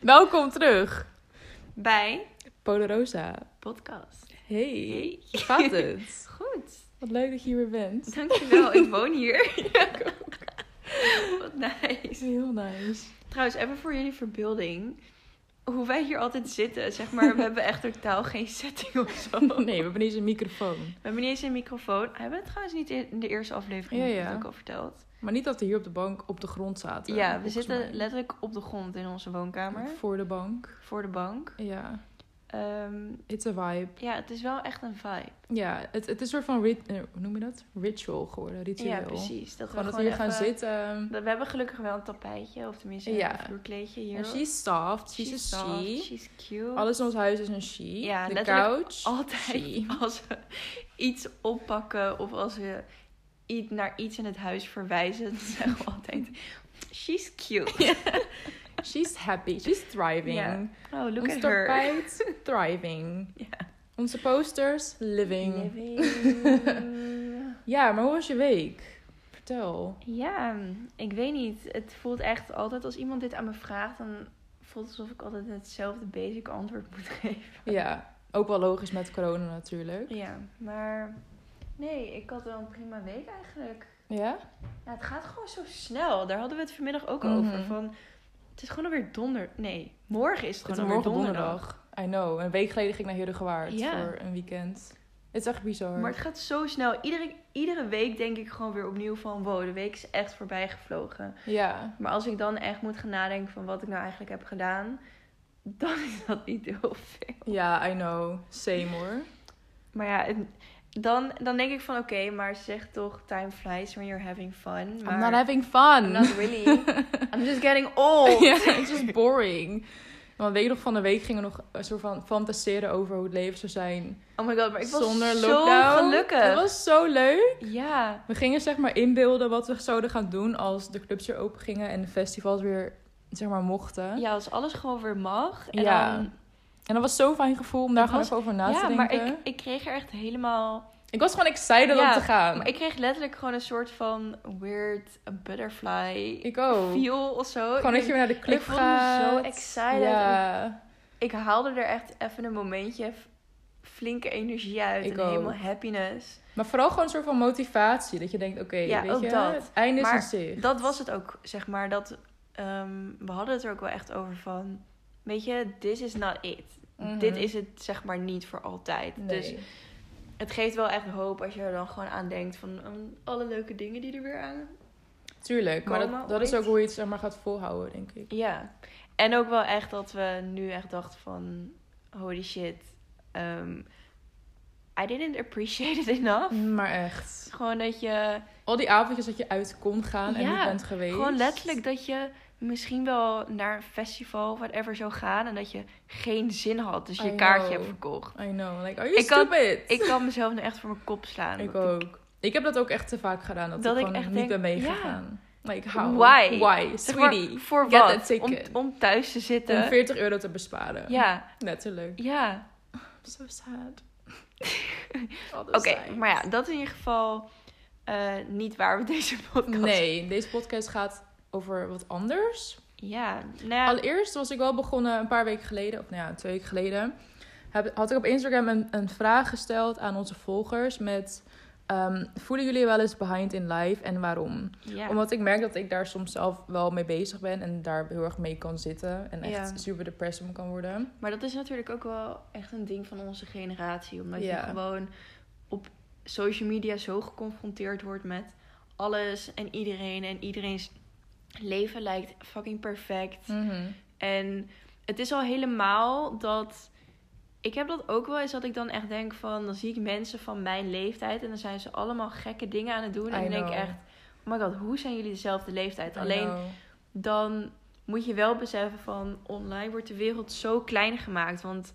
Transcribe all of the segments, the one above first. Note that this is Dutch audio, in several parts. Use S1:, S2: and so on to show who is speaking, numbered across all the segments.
S1: Welkom terug,
S2: bij
S1: Poderosa.
S2: podcast.
S1: Hey,
S2: Hey.
S1: hoe gaat het?
S2: Goed,
S1: Wat leuk dat je hier weer bent.
S2: dankjewel. Ik woon hier. Wat
S1: Is
S2: nice.
S1: heel nice.
S2: Trouwens, even voor jullie verbeelding. Hoe wij hier altijd zitten, zeg maar, we hebben echt totaal geen setting of zo.
S1: Nee, we hebben niet eens een microfoon.
S2: We hebben niet eens een microfoon. Hebben we het trouwens niet in de eerste aflevering
S1: Ja,
S2: heb ik
S1: ja.
S2: het ook al verteld?
S1: Maar niet dat we hier op de bank op de grond zaten.
S2: ja, we
S1: volgens
S2: zitten
S1: mij.
S2: letterlijk op de grond in onze woonkamer.
S1: Voor de bank.
S2: Voor de bank.
S1: Ja,
S2: Ehm,
S1: it's a vibe.
S2: ja, het is wel echt een vibe.
S1: Ja, het, het is een soort van, rit- eh, hoe noem je dat? Ritual geworden, ritueel.
S2: Ja, precies. Dat
S1: Gewoon
S2: we
S1: dat we hier
S2: gewoon
S1: gaan
S2: even-
S1: zitten.
S2: Dat- We hebben gelukkig wel een tapijtje, of tenminste
S1: Ja.
S2: een vloerkleedje hier.
S1: En she's soft, she's,
S2: She's
S1: a
S2: soft,
S1: she.
S2: She's cute.
S1: Alles in ons huis is een she.
S2: Ja,
S1: de
S2: letterlijk
S1: couch.
S2: Altijd
S1: she.
S2: als we iets oppakken of als we iets naar iets in het huis verwijzen, dan zeggen we altijd: She's cute.
S1: She's happy, she's thriving.
S2: Ja. Oh, look
S1: Ons
S2: at her.
S1: tapijt, thriving. Onze posters, living.
S2: Living.
S1: Ja, maar hoe was je week? Vertel.
S2: ja, ik weet niet. Het voelt echt altijd als iemand dit aan me vraagt, dan voelt het alsof ik altijd hetzelfde basic antwoord moet geven.
S1: Ja, ook wel logisch met corona natuurlijk.
S2: Ja, maar nee, ik had wel een prima week eigenlijk.
S1: Ja?
S2: Ja, het gaat gewoon zo snel. Daar hadden we het vanmiddag ook
S1: Mhm.
S2: over. Van, het is gewoon alweer donder... Nee, morgen is het
S1: Het
S2: gewoon
S1: is morgen
S2: alweer donderdag.
S1: donderdag. I know. Een week geleden ging ik naar Heerdegewaard
S2: Ja.
S1: voor een weekend. Het is echt bizar.
S2: Maar het gaat zo snel. Iedere, iedere week denk ik gewoon weer opnieuw van... Wow, de week is echt voorbij gevlogen.
S1: Ja.
S2: Maar als ik dan echt moet gaan nadenken van wat ik nou eigenlijk heb gedaan... Dan is dat niet heel veel.
S1: Ja, I know. Same hoor.
S2: Maar ja, het- dan, dan denk ik van... Oké, maar zeg toch... Time flies when you're having fun. Maar
S1: I'm not having fun.
S2: I'm not really. I'm just getting old.
S1: Ja, het is boring. Want weet je nog, van de week gingen we nog een soort van fantaseren over hoe het leven zou zijn
S2: Oh my god, maar ik was
S1: zonder
S2: zo
S1: lockdown.
S2: gelukkig.
S1: Het was zo leuk.
S2: Ja.
S1: We gingen zeg maar inbeelden wat we zouden gaan doen als de clubs weer open gingen en de festivals weer zeg maar mochten.
S2: Ja, als alles gewoon weer mag. En
S1: Ja,
S2: dan,
S1: En dat was zo'n fijn gevoel om daar
S2: Het
S1: gewoon
S2: was-
S1: even over na
S2: ja,
S1: te denken. Oh,
S2: maar ik,
S1: ik...
S2: ik kreeg er echt helemaal.
S1: was gewoon excited
S2: Ja,
S1: om te gaan.
S2: Maar ik kreeg letterlijk gewoon een soort van weird butterfly
S1: Ik ook.
S2: feel of zo.
S1: Gewoon
S2: ik,
S1: dat je weer naar de club
S2: ik voelde me
S1: gaat.
S2: zo excited.
S1: Ja.
S2: ik haalde er echt even een momentje f- flinke energie uit.
S1: Ik
S2: en
S1: ook.
S2: helemaal happiness.
S1: Maar vooral gewoon een soort van motivatie. Dat je denkt, oké,
S2: Ja,
S1: weet
S2: ook
S1: je,
S2: dat.
S1: het einde
S2: Maar
S1: is in zicht.
S2: Dat was het ook, zeg maar. Dat, ehm, we hadden het er ook wel echt over van. Weet je, this is not it.
S1: Mhm.
S2: Dit is het zeg maar niet voor altijd.
S1: Nee.
S2: Dus het geeft wel echt hoop als je er dan gewoon aan denkt van ehm, alle leuke dingen die er weer aan
S1: Tuurlijk, maar
S2: Komen
S1: dat, dat is
S2: ooit.
S1: ook hoe je het zeg maar, gaat volhouden, denk ik.
S2: Ja. En ook wel echt dat we nu echt dachten van... Holy shit. ehm, I didn't appreciate it enough.
S1: Maar echt.
S2: Gewoon dat je...
S1: Al die avondjes dat je uit kon gaan en
S2: Ja,
S1: niet bent geweest.
S2: Gewoon letterlijk dat je misschien wel naar een festival of whatever zou gaan... en dat je geen zin had. Dus
S1: I
S2: je kaartje
S1: know.
S2: hebt verkocht.
S1: I know, like, are you
S2: Ik kan-
S1: stupid?
S2: Ik kan mezelf nu echt voor mijn kop slaan.
S1: Ik
S2: Want
S1: ook. Ik heb dat ook echt te vaak gedaan. Dat,
S2: Dat
S1: ik
S2: ik
S1: gewoon
S2: echt
S1: niet
S2: denk,
S1: ben
S2: ja.
S1: meegegaan. Like, how?
S2: Why?
S1: Why?
S2: zeg maar,
S1: Sweetie.
S2: voor
S1: get a
S2: wat?
S1: ticket.
S2: Om, om thuis te
S1: Om
S2: zitten.
S1: 40 euro te besparen.
S2: Ja,
S1: Letterlijk.
S2: ja.
S1: I'm so sad.
S2: Oké, maar ja, dat is in ieder geval eh, niet waar we deze podcast...
S1: Nee, deze podcast gaat over wat anders.
S2: Ja, nou ja,
S1: Allereerst was ik wel begonnen een paar weken geleden, of nou ja, twee weken geleden. heb- had ik op Instagram een, een vraag gesteld aan onze volgers met... ehm, voelen jullie wel eens behind in life en waarom?
S2: ja.
S1: Omdat ik merk dat ik daar soms zelf wel mee bezig ben en daar heel erg mee kan zitten en echt
S2: Ja.
S1: super depressed om kan worden.
S2: maar dat is natuurlijk ook wel echt een ding van onze generatie. Omdat
S1: Ja.
S2: je gewoon op social media zo geconfronteerd wordt met alles en iedereen. En iedereen's leven lijkt fucking perfect.
S1: Hm.
S2: En het is al helemaal dat... Ik heb dat ook wel eens dat ik dan echt denk van... Dan zie ik mensen van mijn leeftijd en dan zijn ze allemaal gekke dingen aan het doen. En
S1: I
S2: dan denk ik
S1: know.
S2: echt... Oh my god, hoe zijn jullie dezelfde leeftijd?
S1: I
S2: Alleen
S1: know.
S2: dan moet je wel beseffen van online wordt de wereld zo klein gemaakt. Want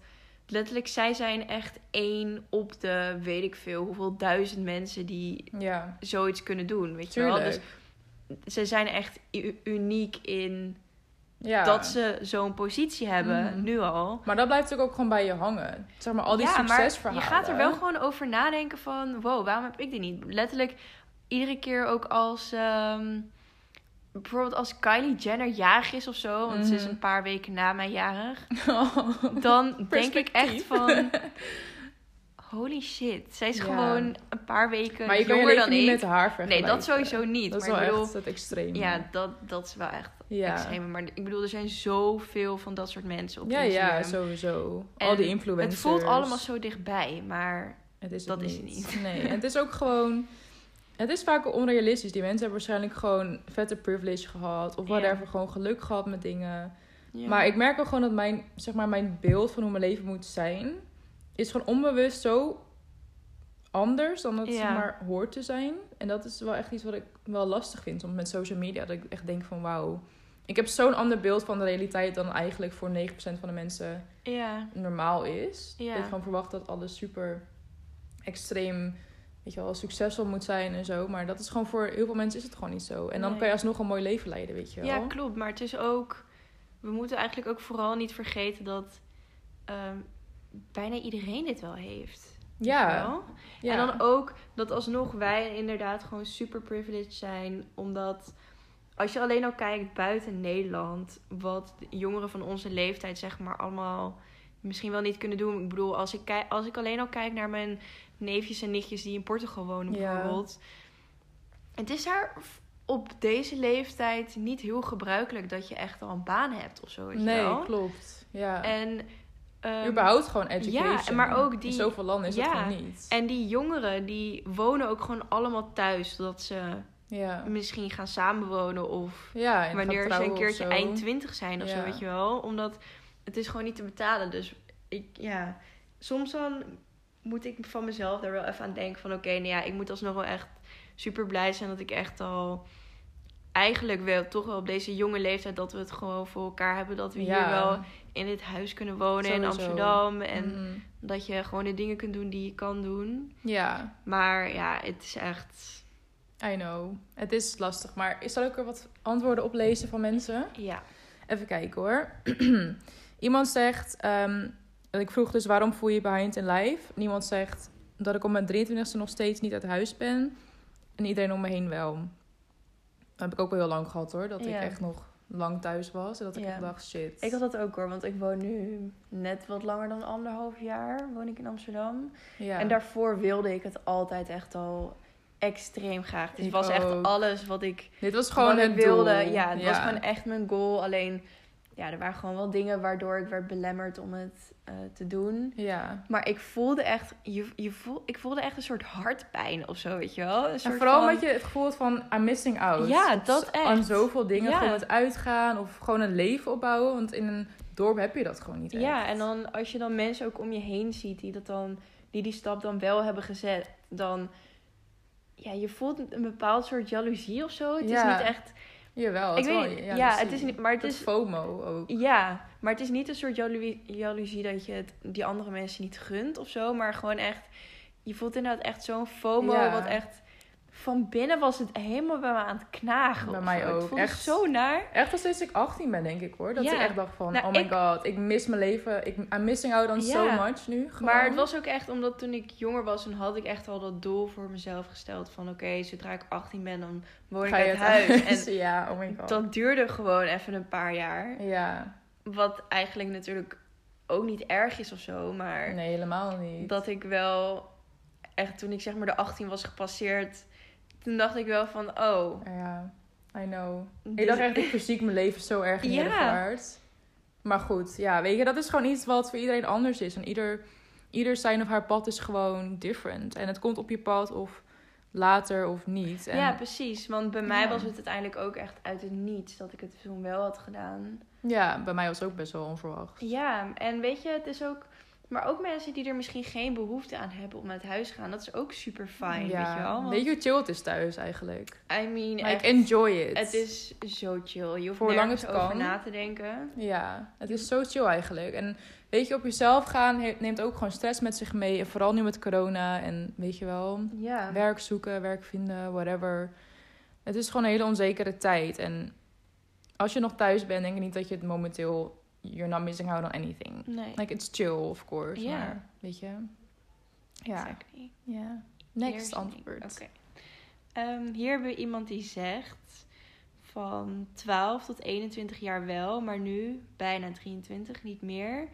S2: letterlijk, zij zijn echt één op de weet ik veel, hoeveel duizend mensen die
S1: Ja,
S2: dus zoiets kunnen doen. Weet je wel?
S1: tuurlijk.
S2: Dus ze zijn echt u- uniek in
S1: Ja.
S2: dat ze zo'n positie hebben,
S1: Mhm.
S2: nu al.
S1: Maar dat blijft natuurlijk ook gewoon bij je hangen. Zeg maar, al die
S2: maar je
S1: succesverhalen.
S2: gaat er wel gewoon over nadenken van... wow, waarom heb ik dit niet? Letterlijk iedere keer ook als... ehm, bijvoorbeeld als Kylie Jenner jarig is of zo... want ze is
S1: Mhm.
S2: een paar weken na mij jarig...
S1: gewoon...
S2: dan denk ik echt
S1: Perspectief.
S2: van... holy shit, zij is
S1: Ja.
S2: gewoon een paar weken
S1: maar je kan je
S2: jonger
S1: leven
S2: dan
S1: niet met
S2: ik.
S1: haar
S2: Nee,
S1: vergelijken.
S2: dat sowieso niet.
S1: Dat is
S2: maar
S1: wel
S2: ik bedoel,
S1: echt het extreem.
S2: ja, dat, dat is wel echt
S1: ja.
S2: extreme. Maar ik bedoel, er zijn zoveel van dat soort mensen op
S1: Ja,
S2: Instagram.
S1: ja, sowieso.
S2: En
S1: al die influencers.
S2: Het voelt allemaal zo dichtbij, maar
S1: Het is
S2: Dat
S1: het
S2: is het niet.
S1: Nee, en het is ook gewoon... Het is vaak onrealistisch. Die mensen hebben waarschijnlijk gewoon vette privilege gehad. Of
S2: Ja.
S1: whatever, gewoon geluk gehad met dingen.
S2: ja.
S1: Maar ik merk ook gewoon dat mijn, zeg maar, mijn beeld van hoe mijn leven moet zijn... is gewoon onbewust zo anders dan dat het
S2: Ja.
S1: zeg maar, hoort te zijn. En dat is wel echt iets wat ik wel lastig vind. Want met social media, dat ik echt denk van wauw... Ik heb zo'n ander beeld van de realiteit dan eigenlijk voor 9% van de mensen
S2: ja.
S1: normaal is.
S2: Ja.
S1: Dat je gewoon verwacht dat alles super extreem, weet je wel, succesvol moet zijn en zo. Maar dat is gewoon voor heel veel mensen is het gewoon niet zo. En dan
S2: Nee.
S1: kan je alsnog een mooi leven leiden, weet je wel.
S2: ja, klopt. Maar het is ook... We moeten eigenlijk ook vooral niet vergeten dat ehm, bijna iedereen dit wel heeft. Weet je
S1: ja.
S2: wel?
S1: ja.
S2: En dan ook dat alsnog wij inderdaad gewoon super privileged zijn. Omdat als je alleen al kijkt buiten Nederland, wat de jongeren van onze leeftijd zeg maar allemaal misschien wel niet kunnen doen. Ik bedoel, als ik, kijk, als ik alleen al kijk naar mijn neefjes en nichtjes die in Portugal wonen
S1: Ja.
S2: bijvoorbeeld. Het is daar v- op deze leeftijd niet heel gebruikelijk dat je echt al een baan hebt of zo. weet je wel.
S1: Nee, klopt. Ja.
S2: En, ehm,
S1: Überhaupt gewoon education.
S2: ja, en maar ook die-
S1: In zoveel landen is dat
S2: ja,
S1: gewoon niet.
S2: en die jongeren die wonen ook gewoon allemaal thuis. Zodat ze
S1: ja.
S2: misschien gaan samenwonen of
S1: Ja, en
S2: wanneer
S1: gaan
S2: ze een
S1: trouwen
S2: keertje
S1: of zo.
S2: eind twintig zijn of zo,
S1: Ja.
S2: weet je wel. Omdat het is gewoon niet te betalen. Dus ik, ja, soms dan moet ik van mezelf daar wel even aan denken van... Oké, nou ja, ik moet alsnog wel echt super blij zijn dat ik echt al... Eigenlijk wel, toch wel op deze jonge leeftijd dat we het gewoon voor elkaar hebben. Dat we hier
S1: Ja.
S2: wel in dit huis kunnen wonen in
S1: Sowieso.
S2: Amsterdam. En
S1: Mhm.
S2: dat je gewoon de dingen kunt doen die je kan doen.
S1: Ja,
S2: Maar ja, het is echt...
S1: I know. Het is lastig, maar zal ik er wat antwoorden op lezen van mensen?
S2: Ja.
S1: Even kijken hoor. Iemand zegt, ehm, ik vroeg dus waarom voel je je behind in life? Niemand zegt dat ik op mijn 23e nog steeds niet uit huis ben. En iedereen om me heen wel. Dat heb ik ook wel heel lang gehad hoor. Dat
S2: Ja.
S1: ik echt nog lang thuis was. En dat ik
S2: Ja.
S1: echt dacht, shit.
S2: Ik had dat ook hoor, want ik woon nu net wat langer dan anderhalf jaar woon ik in Amsterdam.
S1: ja.
S2: En daarvoor wilde ik het altijd echt al extreem graag. Dus
S1: Ik
S2: het was echt
S1: ook.
S2: alles wat ik,
S1: Dit was gewoon
S2: wat
S1: het
S2: ik wilde.
S1: doel.
S2: Ja, het was gewoon echt mijn goal. Alleen, ja, er waren gewoon wel dingen waardoor ik werd belemmerd om het eh, te doen.
S1: Ja.
S2: Maar ik voelde echt, je, je voel, ik voelde echt een soort hartpijn of zo, weet je wel? Een
S1: En
S2: soort
S1: vooral
S2: van-
S1: omdat je het gevoel had van, I'm missing out.
S2: Ja, dat echt.
S1: Aan zoveel dingen,
S2: Ja.
S1: gewoon het uitgaan of gewoon een leven opbouwen. Want in een dorp heb je dat gewoon niet echt.
S2: Ja, en dan als je dan mensen ook om je heen ziet die dat dan, die, die stap dan wel hebben gezet, dan. Ja, je voelt een bepaald soort jaloezie of zo. Het
S1: Ja,
S2: is niet echt.
S1: Jawel, het
S2: ik
S1: wel-
S2: weet niet. Ja,
S1: dat zie
S2: het is
S1: Oh, je.
S2: niet. Maar het
S1: Dat
S2: is.
S1: FOMO ook.
S2: Ja, maar het is niet een soort jaloe- jaloezie dat je het, die andere mensen niet gunt of zo. Maar gewoon echt. Je voelt inderdaad echt zo'n FOMO.
S1: Ja.
S2: Wat echt. Van binnen was het helemaal bij me aan het knagen.
S1: Bij
S2: of
S1: mij
S2: zo.
S1: ook,
S2: Ik voelde
S1: echt.
S2: zo naar.
S1: Echt al sinds ik 18 ben, denk ik hoor. Dat
S2: Ja.
S1: ik echt dacht van,
S2: Nou,
S1: oh my
S2: ik-
S1: god, ik mis mijn leven. Ik, I'm missing out on so
S2: Ja.
S1: much nu. Gewoon.
S2: Maar het was ook echt omdat toen ik jonger was, toen had ik echt al dat doel voor mezelf gesteld. Van oké, zodra ik 18 ben, dan woon ik
S1: Ga je
S2: uit huis. En
S1: ja, oh my god.
S2: dat duurde gewoon even een paar jaar.
S1: Ja,
S2: Wat eigenlijk natuurlijk ook niet erg is of zo. Maar
S1: nee, helemaal niet.
S2: dat ik wel echt toen ik zeg maar de 18 was gepasseerd, toen dacht ik wel van oh. Dus-
S1: Ja, I know.
S2: dit-
S1: Ik dacht echt, ik fysiek mijn leven zo erg
S2: Ja.
S1: neergevaart. Maar goed, ja, weet je, dat is gewoon iets wat voor iedereen anders is. En ieder, ieder zijn of haar pad is gewoon different. En het komt op je pad of later of niet. En
S2: Ja, precies. Want bij mij
S1: Ja.
S2: was het uiteindelijk ook echt uit het niets dat ik het toen wel had gedaan.
S1: ja, bij mij was het ook best wel onverwacht.
S2: Ja, en weet je, het is ook. Maar ook mensen die er misschien geen behoefte aan hebben om uit huis te gaan, dat is ook super fijn. Weet je wel? Want,
S1: Weet je hoe chill het is thuis eigenlijk?
S2: I mean,
S1: Like,
S2: echt,
S1: enjoy it.
S2: het is zo chill. Je hoeft
S1: Voor hoe lang
S2: nergens
S1: het
S2: over
S1: kan.
S2: na te denken.
S1: Ja, het is zo chill eigenlijk. En weet je, op jezelf gaan he- neemt ook gewoon stress met zich mee. En vooral nu met corona en weet je wel,
S2: Ja.
S1: werk zoeken, werk vinden, whatever. Het is gewoon een hele onzekere tijd. En als je nog thuis bent, denk ik niet dat je het momenteel... You're not missing out on anything.
S2: Nee.
S1: Like, it's chill, of course.
S2: Ja.
S1: Maar, weet je? Ja.
S2: Exactly.
S1: Ja.
S2: Eerst
S1: Next
S2: een-
S1: antwoord.
S2: Oké. Ehm, hier hebben we iemand die zegt van 12 tot 21 jaar wel, maar nu bijna 23 niet meer.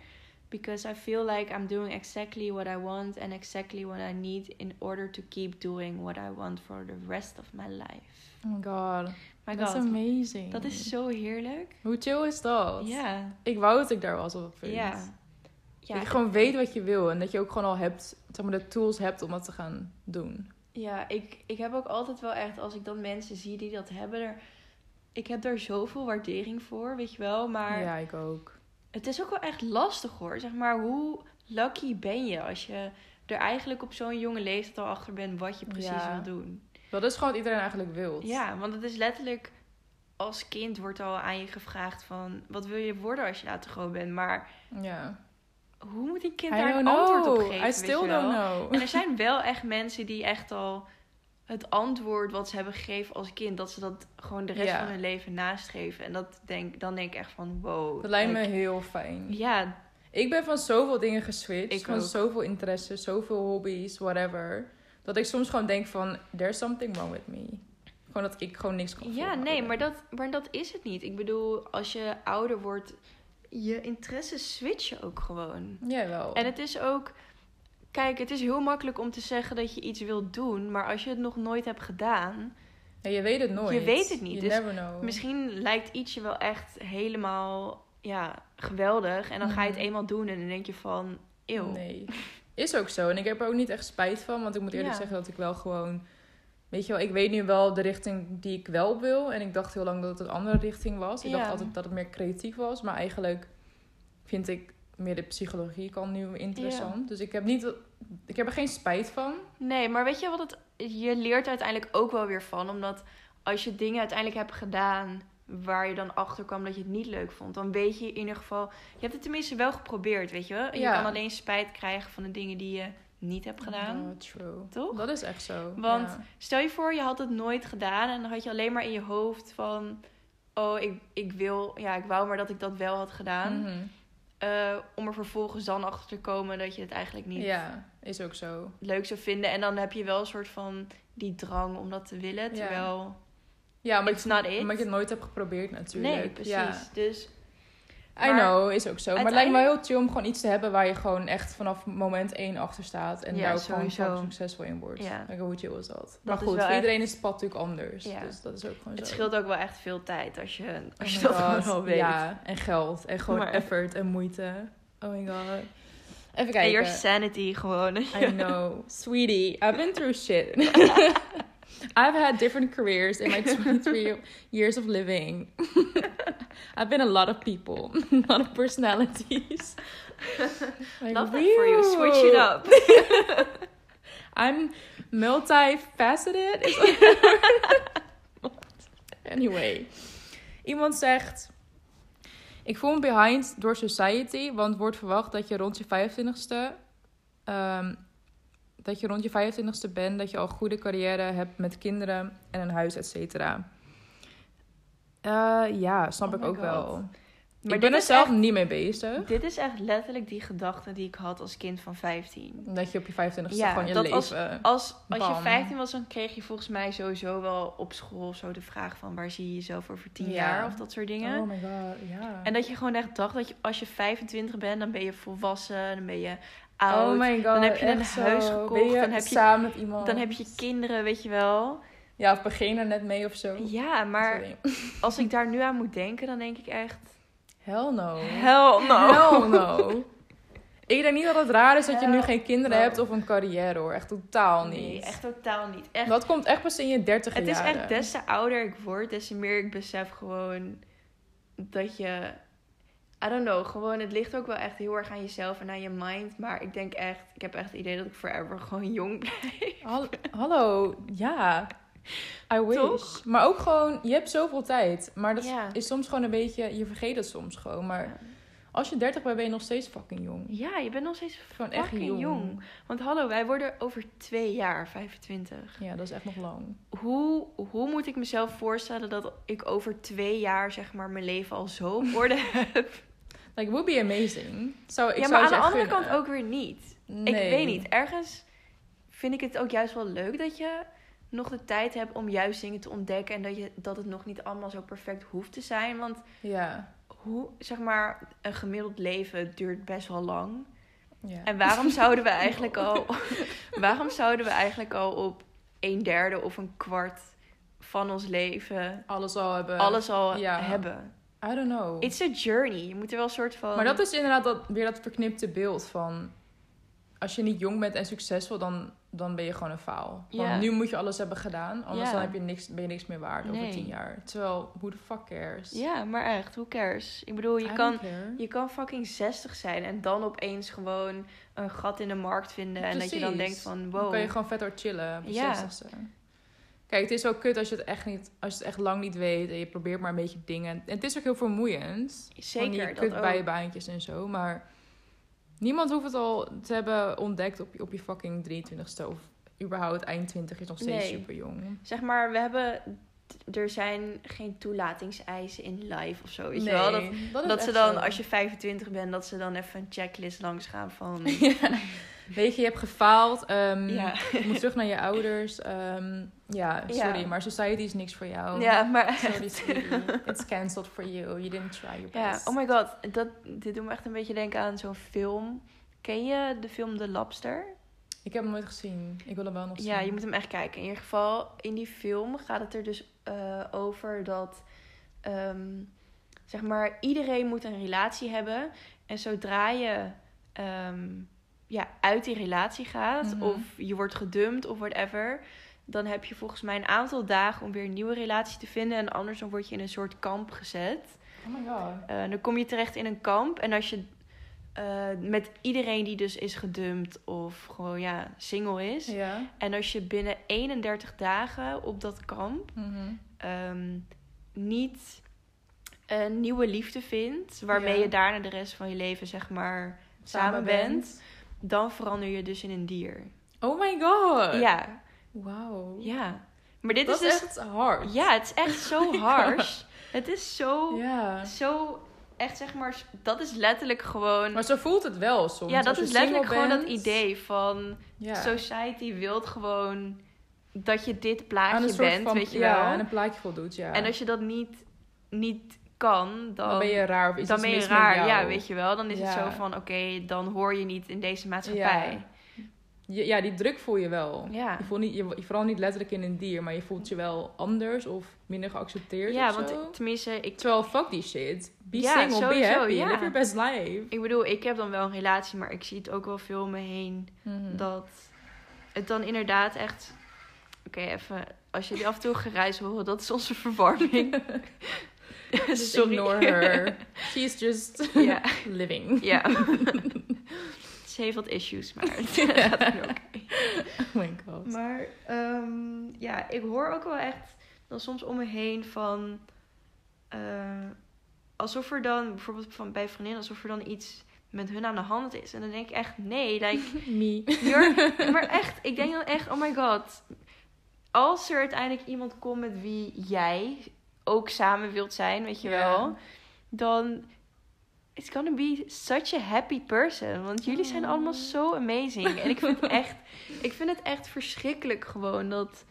S2: Because I feel like I'm doing exactly what I want and exactly what I need in order to keep doing what I want for the rest of my life.
S1: Oh my god.
S2: My
S1: That's
S2: god,
S1: amazing.
S2: dat is zo heerlijk.
S1: Hoe chill is dat?
S2: Ja,
S1: Ik wou dat ik daar was op dat punt.
S2: ja.
S1: dat
S2: Ja,
S1: je gewoon weet wat je wil. En dat je ook gewoon al hebt, zeg maar, de tools hebt om dat te gaan doen.
S2: Ja, ik, ik heb ook altijd wel echt, als ik dan mensen zie die dat hebben, er, ik heb daar zoveel waardering voor, weet je wel. Maar
S1: Ja, ik ook.
S2: het is ook wel echt lastig hoor. Zeg maar, hoe lucky ben je als je er eigenlijk op zo'n jonge leeftijd al achter bent wat je precies
S1: Ja.
S2: wil doen?
S1: Dat is gewoon wat iedereen eigenlijk wil.
S2: Ja, want het is letterlijk, als kind wordt al aan je gevraagd van, wat wil je worden als je later groot bent? Maar
S1: Ja.
S2: hoe moet een kind
S1: I
S2: daar
S1: don't
S2: een antwoord op
S1: know.
S2: geven?
S1: I
S2: weet
S1: still
S2: je wel?
S1: don't know.
S2: En er zijn wel echt mensen die echt al het antwoord wat ze hebben gegeven als kind, dat ze dat gewoon de rest
S1: Ja.
S2: van hun leven nastreven. En dat denk, dan denk ik echt van wow.
S1: Dat lijkt me
S2: like,
S1: heel fijn.
S2: Ja,
S1: Ik ben van zoveel dingen geswitcht.
S2: Ik
S1: van
S2: ook.
S1: zoveel interesses, zoveel hobby's, whatever. Dat ik soms gewoon denk van, there's something wrong with me. Gewoon dat ik gewoon niks kan
S2: ja
S1: volhouden.
S2: nee, maar dat, maar dat is het niet. Ik bedoel, als je ouder wordt, je interesses switchen ook gewoon.
S1: Jawel.
S2: En het is ook, kijk, het is heel makkelijk om te zeggen dat je iets wilt doen, maar als je het nog nooit hebt gedaan,
S1: Ja, je weet het nooit.
S2: Je weet het niet,
S1: You
S2: dus
S1: never know.
S2: Misschien lijkt iets je wel echt helemaal ja, geweldig. En dan ga je het
S1: Mhm.
S2: eenmaal doen en dan denk je van... Eeuw.
S1: Nee. Is ook zo. En ik heb er ook niet echt spijt van. Want ik moet eerlijk
S2: Ja.
S1: zeggen dat ik wel gewoon... Weet je wel, ik weet nu wel de richting die ik wel op wil. En ik dacht heel lang dat het een andere richting was. Ik dacht
S2: Ja.
S1: altijd dat het meer creatief was. Maar eigenlijk vind ik meer de psychologie kan nu interessant. Dus ik heb, niet, ik heb er geen spijt van.
S2: Nee, maar weet je wat het... Je leert er uiteindelijk ook wel weer van. Omdat als je dingen uiteindelijk hebt gedaan... waar je dan achter kwam dat je het niet leuk vond... dan weet je in ieder geval... Je hebt het tenminste wel geprobeerd, weet je wel? En
S1: Ja.
S2: Je kan alleen spijt krijgen van de dingen die je niet hebt gedaan.
S1: Ja, true.
S2: Toch?
S1: Dat is echt zo.
S2: Want
S1: ja.
S2: Stel je voor, je had het nooit gedaan en dan had je alleen maar in je hoofd van... Oh, ik, ik wil... Ja, ik wou maar dat ik dat wel had gedaan.
S1: Mhm.
S2: Eh, om er vervolgens dan achter te komen dat je het eigenlijk niet
S1: ja, is ook zo.
S2: leuk zou vinden. En dan heb je wel een soort van die drang om dat te willen.
S1: Ja.
S2: Terwijl,
S1: Ja, maar
S2: it's not
S1: ik,
S2: it.
S1: maar ik het nooit heb geprobeerd natuurlijk.
S2: nee, precies.
S1: Ja.
S2: Dus
S1: I
S2: Maar
S1: know, is ook zo. Maar het lijkt me
S2: uiteindelijk-
S1: heel chill om gewoon iets te hebben waar je gewoon echt vanaf moment één achter staat. En
S2: Ja,
S1: daar ook gewoon
S2: sowieso.
S1: fucking succesvol in wordt.
S2: Ja.
S1: Like, hoe chill is dat? maar
S2: is
S1: goed,
S2: wel
S1: voor
S2: echt-
S1: iedereen is het pad natuurlijk anders.
S2: Ja.
S1: Dus dat is ook gewoon
S2: het
S1: zo.
S2: scheelt ook wel echt veel tijd als je,
S1: Oh
S2: als je
S1: my
S2: dat
S1: god,
S2: gewoon al weet.
S1: Ja, en geld. En gewoon
S2: Maar-
S1: effort en moeite. Oh my god. Even
S2: En
S1: kijken.
S2: your sanity gewoon.
S1: eh, I know. Sweetie, I've been through shit. I've had different careers in my 23 years of living. I've been a lot of people, a lot of personalities. Like,
S2: Love that for you. Switch it
S1: "Whew,
S2: up.
S1: I'm multifaceted. Is dat het woord? anyway. Iemand zegt... Ik voel me behind door society, want wordt verwacht dat je rond je 25ste... ehm, dat je rond je 25ste bent, dat je al goede carrière hebt met kinderen en een huis, et cetera. Eh, ja, snap
S2: Oh
S1: ik
S2: my
S1: ook
S2: God.
S1: wel.
S2: Maar
S1: ik ben
S2: dit
S1: er
S2: is
S1: zelf
S2: echt-
S1: niet mee bezig.
S2: Dit is echt letterlijk die gedachte die ik had als kind van 15.
S1: Dat je op je 25ste
S2: Ja,
S1: gewoon je
S2: dat
S1: leven...
S2: als- Als, als je
S1: Bam.
S2: 15 was, dan kreeg je volgens mij sowieso wel op school of zo de vraag van waar zie je jezelf over 10
S1: Ja.
S2: jaar of dat soort dingen.
S1: Oh my god, ja.
S2: En dat je gewoon echt dacht dat je, als je 25 bent, dan ben je volwassen, dan ben je
S1: Oh
S2: oud,
S1: my god.
S2: dan heb je een
S1: echt
S2: huis
S1: zo.
S2: gekocht,
S1: Ben je
S2: dan heb je-
S1: samen met iemand.
S2: dan heb je kinderen, weet je wel.
S1: Ja, of begin er net mee of zo.
S2: Ja, maar
S1: Sorry.
S2: als ik daar nu aan moet denken, dan denk ik echt,
S1: Hell no.
S2: hell no.
S1: Hell no. Ik denk niet dat het raar is dat je nu
S2: Oh. Hell
S1: geen kinderen
S2: no.
S1: hebt of een carrière hoor. Echt totaal niet.
S2: Nee, echt totaal niet. Echt,
S1: Dat komt echt pas in je dertig
S2: het
S1: jaren.
S2: is echt des te ouder ik word, des te meer ik besef gewoon dat je, I don't know, gewoon het ligt ook wel echt heel erg aan jezelf en aan je mind. Maar ik denk echt, ik heb echt het idee dat ik forever gewoon jong blijf.
S1: Hal- Hallo, ja. I wish.
S2: Toch?
S1: Maar ook gewoon, je hebt zoveel tijd. Maar dat
S2: Ja.
S1: is soms gewoon een beetje, je vergeet het soms gewoon. Maar
S2: Ja.
S1: als Als je 30 bent, ben je nog steeds fucking jong.
S2: Ja, je bent nog steeds
S1: Gewoon echt
S2: fucking
S1: jong.
S2: jong. Want hallo, wij worden over twee jaar 25.
S1: Ja, dat is echt nog lang.
S2: Hoe, hoe moet ik mezelf voorstellen dat ik over twee jaar zeg maar mijn leven al zo op orde heb?
S1: Like, would be amazing. Zou, ik
S2: ja,
S1: zou
S2: maar
S1: het je
S2: aan de
S1: echt
S2: andere
S1: gunnen.
S2: kant ook weer niet.
S1: Nee.
S2: Ik weet niet. Ergens vind ik het ook juist wel leuk dat je nog de tijd hebt om juist dingen te ontdekken. En dat, je, dat het nog niet allemaal zo perfect hoeft te zijn. Want
S1: Ja.
S2: hoe, zeg maar, een gemiddeld leven duurt best wel lang.
S1: ja. Oh.
S2: En waarom zouden we eigenlijk al, waarom zouden we eigenlijk al op een derde of een kwart van ons leven
S1: Alles al hebben.
S2: alles al
S1: ja.
S2: hebben?
S1: I don't know.
S2: It's a journey. Je moet er wel een soort van.
S1: Maar dat is inderdaad dat, weer dat verknipte beeld van... Als je niet jong bent en succesvol, dan, dan ben je gewoon een faal. Want
S2: Ja.
S1: nu moet je alles hebben gedaan. Anders
S2: Ja.
S1: dan heb je niks, ben je niks meer waard over
S2: Nee.
S1: tien jaar. Terwijl, who the fuck cares?
S2: Ja, maar echt, hoe cares? Ik bedoel,
S1: I
S2: je
S1: don't
S2: kan,
S1: care.
S2: je kan fucking 60 zijn en dan opeens gewoon een gat in de markt vinden. En dat je dan
S1: Precies.
S2: denkt van
S1: Dan
S2: wow.
S1: kan je gewoon vet hard chillen op je
S2: Ja.
S1: 60ste. Kijk, het is wel kut als je het echt niet, als je het echt lang niet weet en je probeert maar een beetje dingen. En het is ook heel vermoeiend. Van
S2: Zeker,
S1: die
S2: dat ook.
S1: kutbijbaantjes en zo, maar niemand hoeft het al te hebben ontdekt op je, op je fucking 23ste of überhaupt eind 20 is nog steeds
S2: Nee. Oh,
S1: super jong.
S2: Zeg maar, we hebben. t- Er zijn geen toelatingseisen in live of zo. Weet
S1: Nee,
S2: je wel? Dat,
S1: is
S2: dat ze
S1: echt
S2: dan,
S1: zo.
S2: als je 25 bent, dat ze dan even een checklist langs gaan van.
S1: Ja. Weet je, je hebt gefaald. ehm,
S2: ja.
S1: Je moet terug naar je ouders. ehm, ja, sorry,
S2: Ja.
S1: maar society is niks voor jou.
S2: ja, maar.
S1: Sorry, sweetie. It's cancelled for you. You didn't try your
S2: Ja,
S1: best.
S2: oh my god. Dat, dit doet me echt een beetje denken aan zo'n film. Ken je de film The Lobster?
S1: Ik heb hem nooit gezien. Ik wil hem wel nog zien.
S2: Ja, je moet hem echt kijken. In ieder geval, in die film gaat het er dus eh, over dat... ehm, zeg maar, iedereen moet een relatie hebben. En zodra je ehm, ja, uit die relatie gaat...
S1: Mhm.
S2: of je wordt gedumpt of whatever... dan heb je volgens mij een aantal dagen om weer een nieuwe relatie te vinden. En anders dan word je in een soort kamp gezet.
S1: Oh my god.
S2: Eh, dan kom je terecht in een kamp. En als je eh, met iedereen die dus is gedumpt of gewoon ja, single is...
S1: Ja.
S2: En als je binnen 31 dagen op dat kamp
S1: Mhm.
S2: ehm, niet een nieuwe liefde vindt, waarmee
S1: Ja.
S2: je daarna de rest van je leven zeg maar samen bent, dan verander je dus in een dier.
S1: Oh my god.
S2: Ja,
S1: Wauw.
S2: ja. Maar dit
S1: dat
S2: is dus.
S1: echt hard.
S2: Ja, het is echt zo harsh. Het is zo.
S1: Ja.
S2: Zo echt zeg maar. s- Dat is letterlijk gewoon.
S1: Maar zo voelt het wel soms.
S2: ja, dat
S1: Als je
S2: is letterlijk
S1: single
S2: gewoon dat
S1: bent,
S2: idee van.
S1: Ja.
S2: Society wilt gewoon dat je dit
S1: Aan een
S2: plaatje
S1: soort
S2: bent,
S1: van,
S2: weet je
S1: ja,
S2: wel.
S1: aan een plaatje voldoet, ja.
S2: En als je dat niet, niet kan, dan,
S1: dan ben je raar of iets
S2: dan
S1: is
S2: ben je
S1: mis met
S2: raar.
S1: jou.
S2: Ja, weet je wel. Dan is
S1: Ja.
S2: het zo van, oké, dan hoor je niet in deze maatschappij.
S1: Je- Ja, die druk voel je wel.
S2: Ja.
S1: Je voelt niet, je, je- vooral niet letterlijk in een dier, maar je voelt je wel anders of minder
S2: Ja,
S1: geaccepteerd of
S2: want
S1: zo.
S2: tenminste, ik,
S1: Terwijl, fuck die shit. Be
S2: Ja,
S1: single, be
S2: sowieso,
S1: happy,
S2: ja.
S1: live your best life.
S2: ik bedoel, ik heb dan wel een relatie, maar ik zie het ook wel veel om me heen.
S1: Hmm.
S2: Dat het dan inderdaad echt... Oké, even... Als jullie af en toe gereis horen, dat is onze verwarming.
S1: Just
S2: Sorry.
S1: ignore her. She's just
S2: ja,
S1: living.
S2: ja. Ze heeft wat issues, maar het gaat nu oké.
S1: Oh my god.
S2: Maar ehm, ja, ik hoor ook wel echt dan soms om me heen van. eh, alsof er dan, bijvoorbeeld van, bij vriendinnen, alsof er dan iets met hun aan de hand is. En dan denk ik echt, nee, like,
S1: Me.
S2: you're- maar echt, ik denk dan echt, oh my god. Als er uiteindelijk iemand komt met wie jij ook samen wilt zijn, weet je
S1: Ja.
S2: wel, dan. It's gonna be such a happy person. Want jullie zijn
S1: Oh.
S2: allemaal zo amazing. En ik vind het echt, ik vind het echt verschrikkelijk gewoon dat,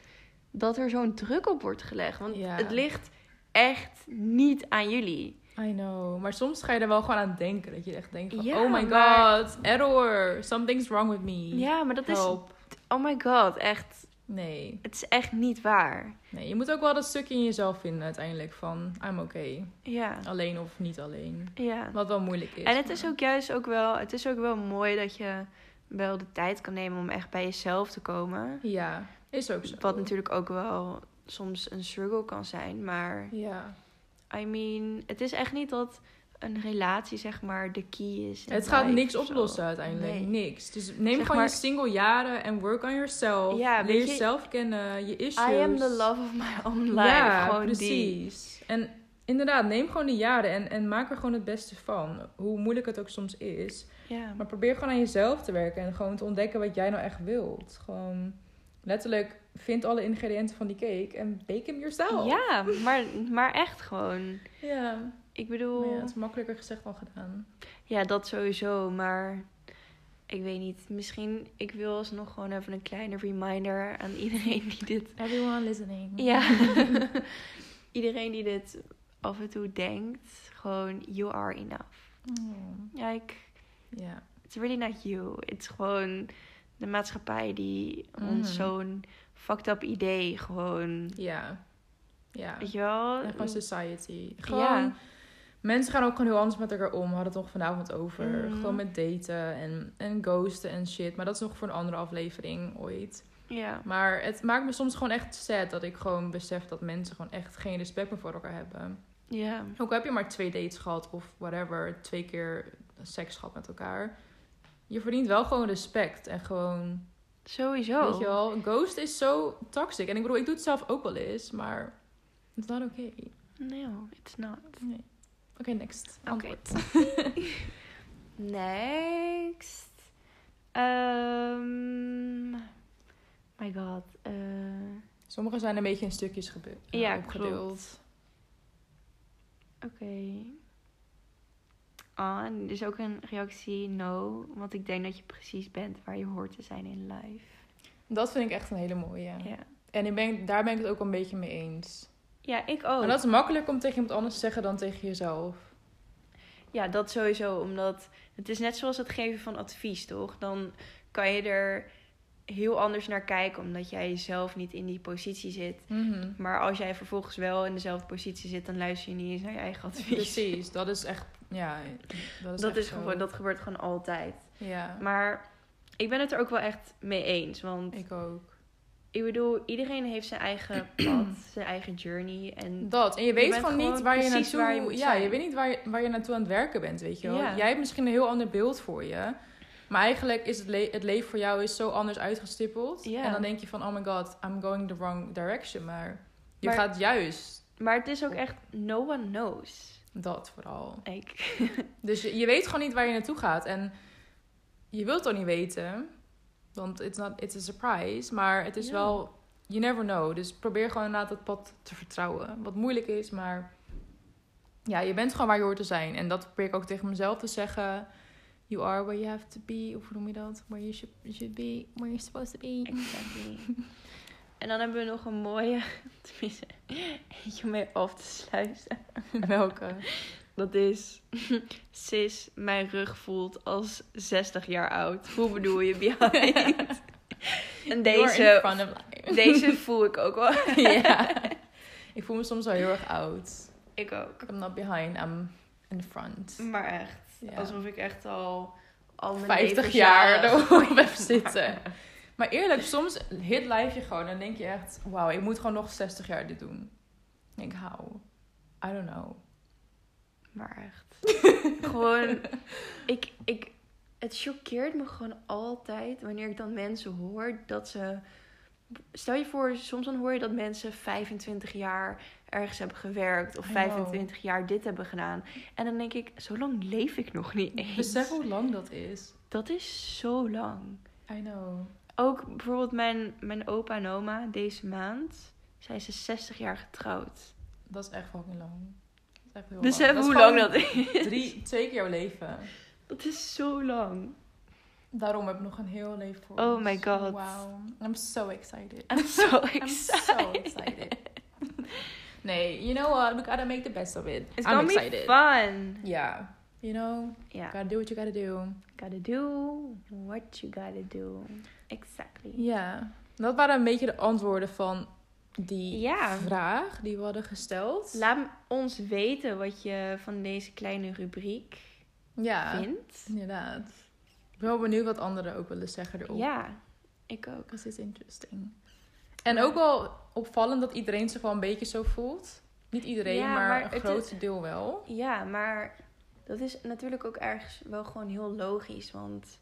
S2: dat er zo'n druk op wordt gelegd. Want
S1: Ja.
S2: het ligt echt niet aan jullie.
S1: I know. Maar soms ga je er wel gewoon aan denken. Dat je echt denkt van,
S2: Ja,
S1: oh my
S2: maar-
S1: god, error. Something's wrong with me.
S2: Ja, maar dat
S1: Help.
S2: is. Oh my god, echt.
S1: Nee.
S2: Het is echt niet waar.
S1: nee. Je moet ook wel dat stukje in jezelf vinden uiteindelijk. Van, I'm okay.
S2: Ja.
S1: Alleen of niet alleen.
S2: Ja.
S1: Wat wel moeilijk is.
S2: En het
S1: maar-
S2: is ook juist ook wel, het is ook wel mooi dat je wel de tijd kan nemen om echt bij jezelf te komen.
S1: Ja, is ook zo.
S2: Wat natuurlijk ook wel soms een struggle kan zijn. Maar
S1: Ja.
S2: I mean, het is echt niet dat een relatie zeg maar de key is. in
S1: Het gaat
S2: life
S1: niks
S2: of zo.
S1: oplossen uiteindelijk.
S2: Nee.
S1: Niks. Dus neem
S2: Zeg
S1: gewoon je
S2: maar-
S1: single jaren en work on yourself.
S2: Ja,
S1: Leer
S2: weet je-
S1: jezelf kennen, je issues.
S2: I am the love of my own life.
S1: Ja,
S2: Gewoon die.
S1: precies. En Inderdaad, neem gewoon die jaren en, en maak er gewoon het beste van. Hoe moeilijk het ook soms is.
S2: Ja.
S1: Maar probeer gewoon aan jezelf te werken en gewoon te ontdekken wat jij nou echt wilt. Gewoon letterlijk, vind alle ingrediënten van die cake en bake hem yourself.
S2: Ja, maar, maar echt gewoon.
S1: Ja.
S2: Ik
S1: Maar
S2: bedoel,
S1: ja,
S2: ja.
S1: het is makkelijker gezegd dan gedaan.
S2: dat sowieso, maar ik weet niet. Misschien, ik wil alsnog gewoon even een kleine reminder aan iedereen die dit...
S1: Everyone listening.
S2: Ja. iedereen die dit af en toe denkt, gewoon, you are enough.
S1: Oh,
S2: Like,
S1: ja.
S2: it's really not you. It's gewoon de maatschappij die
S1: Mhm.
S2: ons zo'n fucked up idee gewoon...
S1: Ja. Ja.
S2: Weet je wel?
S1: En gewoon society.
S2: Ja.
S1: Gewoon, mensen gaan ook gewoon heel anders met elkaar om. We hadden het nog vanavond over.
S2: Mhm.
S1: Gewoon met daten en, en ghosten en shit. Maar dat is nog voor een andere aflevering ooit.
S2: Ja.
S1: Maar het maakt me soms gewoon echt sad dat ik gewoon besef dat mensen gewoon echt geen respect meer voor elkaar hebben.
S2: Ja.
S1: Ook al heb je maar twee dates gehad of whatever, twee keer seks gehad met elkaar. Je verdient wel gewoon respect en gewoon,
S2: Sowieso.
S1: weet je wel, ghost is zo toxic. En ik bedoel, ik doe het zelf ook wel eens, maar it's not okay.
S2: No, it's not.
S1: Nee. Oké, next.
S2: Oké.
S1: Antwoord.
S2: Next. Ehm my god. eh,
S1: Sommige zijn een beetje in stukjes eh, gebeurd.
S2: Ja, Oké. Ah, en er is ook een reactie no. Want ik denk dat je precies bent waar je hoort te zijn in life.
S1: Dat vind ik echt een hele mooie.
S2: Ja,
S1: En ik ben, daar ben ik het ook een beetje mee eens.
S2: ja ik ook.
S1: Maar dat is makkelijker om tegen iemand anders te zeggen dan tegen jezelf.
S2: Ja, dat sowieso. Omdat het is net zoals het geven van advies, toch? Dan kan je er heel anders naar kijken. Omdat jij zelf niet in die positie zit.
S1: Mhm.
S2: Maar als jij vervolgens wel in dezelfde positie zit, dan luister je niet eens naar je eigen advies.
S1: Precies, dat is echt. Ja, dat is,
S2: Dat,
S1: echt
S2: is
S1: zo.
S2: gewoon, dat gebeurt gewoon altijd.
S1: Ja,
S2: Maar ik ben het er ook wel echt mee eens. Want
S1: ik ook.
S2: ik bedoel, iedereen heeft zijn eigen pad, zijn eigen journey. En
S1: Dat, en je weet
S2: bent
S1: gewoon
S2: gewoon
S1: niet waar je
S2: precies
S1: naartoe...
S2: waar je moet
S1: ja, je
S2: zijn.
S1: weet niet waar je, waar je naartoe aan het werken bent, weet je wel.
S2: Ja.
S1: Jij hebt misschien een heel ander beeld voor je. Maar eigenlijk is het, le- het leven voor jou is zo anders uitgestippeld.
S2: Ja.
S1: En dan denk je van, oh my god, I'm going the wrong direction. Maar je
S2: Maar-
S1: gaat juist
S2: maar het is ook echt no one knows.
S1: dat vooral.
S2: Ik.
S1: Dus je, je weet gewoon niet waar je naartoe gaat. En je wilt het ook niet weten. Want it's, not, it's a surprise. Maar het is
S2: Ja.
S1: wel... You never know. Dus probeer gewoon inderdaad dat pad te vertrouwen. Wat moeilijk is, maar... Ja, je bent gewoon waar je hoort te zijn. En dat probeer ik ook tegen mezelf te zeggen. You are where you have to be. Of hoe noem je dat? Where you should, should be. Where you're supposed to be.
S2: Exactly. En dan hebben we nog een mooie, tenminste, eentje om mee af te sluiten.
S1: Welke?
S2: Dat is, sis, mijn rug voelt als 60 jaar oud. Hoe bedoel je behind? en
S1: You're in
S2: deze,
S1: front of life.
S2: deze voel ik ook wel.
S1: ja. Ik voel me soms wel heel erg oud.
S2: Ik ook.
S1: I'm not behind, I'm in front.
S2: Maar echt,
S1: Ja.
S2: alsof ik echt al, al mijn
S1: 50 jaar
S2: levensjaren-
S1: erop heb zitten. Maar eerlijk, soms hit life je gewoon. Dan denk je echt, wauw, ik moet gewoon nog 60 jaar dit doen. Ik denk, how? I don't know.
S2: Maar echt. gewoon, ik, ik, het choqueert me gewoon altijd wanneer ik dan mensen hoor dat ze. Stel je voor, soms dan hoor je dat mensen 25 jaar ergens hebben gewerkt of
S1: I know.
S2: 25 jaar dit hebben gedaan. En dan denk ik, zo lang leef ik nog niet eens.
S1: Besef hoe lang dat is.
S2: Dat is zo lang.
S1: I know.
S2: Ook bijvoorbeeld mijn, mijn opa en oma deze maand zijn ze 60 jaar getrouwd.
S1: Dat is echt fucking lang. Dat is echt heel
S2: Dus
S1: lang.
S2: even
S1: is
S2: hoe
S1: gewoon
S2: lang dat is.
S1: Drie, twee keer jouw leven.
S2: Dat is zo lang.
S1: Daarom heb ik nog een heel leven voor
S2: Oh
S1: ons.
S2: my god.
S1: Wow. I'm so excited.
S2: I'm so
S1: I'm
S2: excited.
S1: so excited. nee, you know what? We gotta make the best of it.
S2: It's
S1: I'm
S2: gonna
S1: excited.
S2: be fun.
S1: Yeah. You know,
S2: Yeah.
S1: gotta do what you gotta do.
S2: Gotta do what you gotta do. Exactly.
S1: Ja, dat waren een beetje de antwoorden van die
S2: Ja.
S1: vraag die we hadden gesteld.
S2: Laat m- ons weten wat je van deze kleine rubriek
S1: ja,
S2: vindt.
S1: inderdaad. Ik ben wel benieuwd wat anderen ook willen zeggen erop.
S2: Ja, ik ook.
S1: Dat is interesting. En ook wel opvallend dat iedereen zich wel een beetje zo voelt. Niet iedereen,
S2: Ja,
S1: maar,
S2: maar
S1: een
S2: het
S1: groot deel wel.
S2: Ja, maar dat is natuurlijk ook ergens wel gewoon heel logisch. Want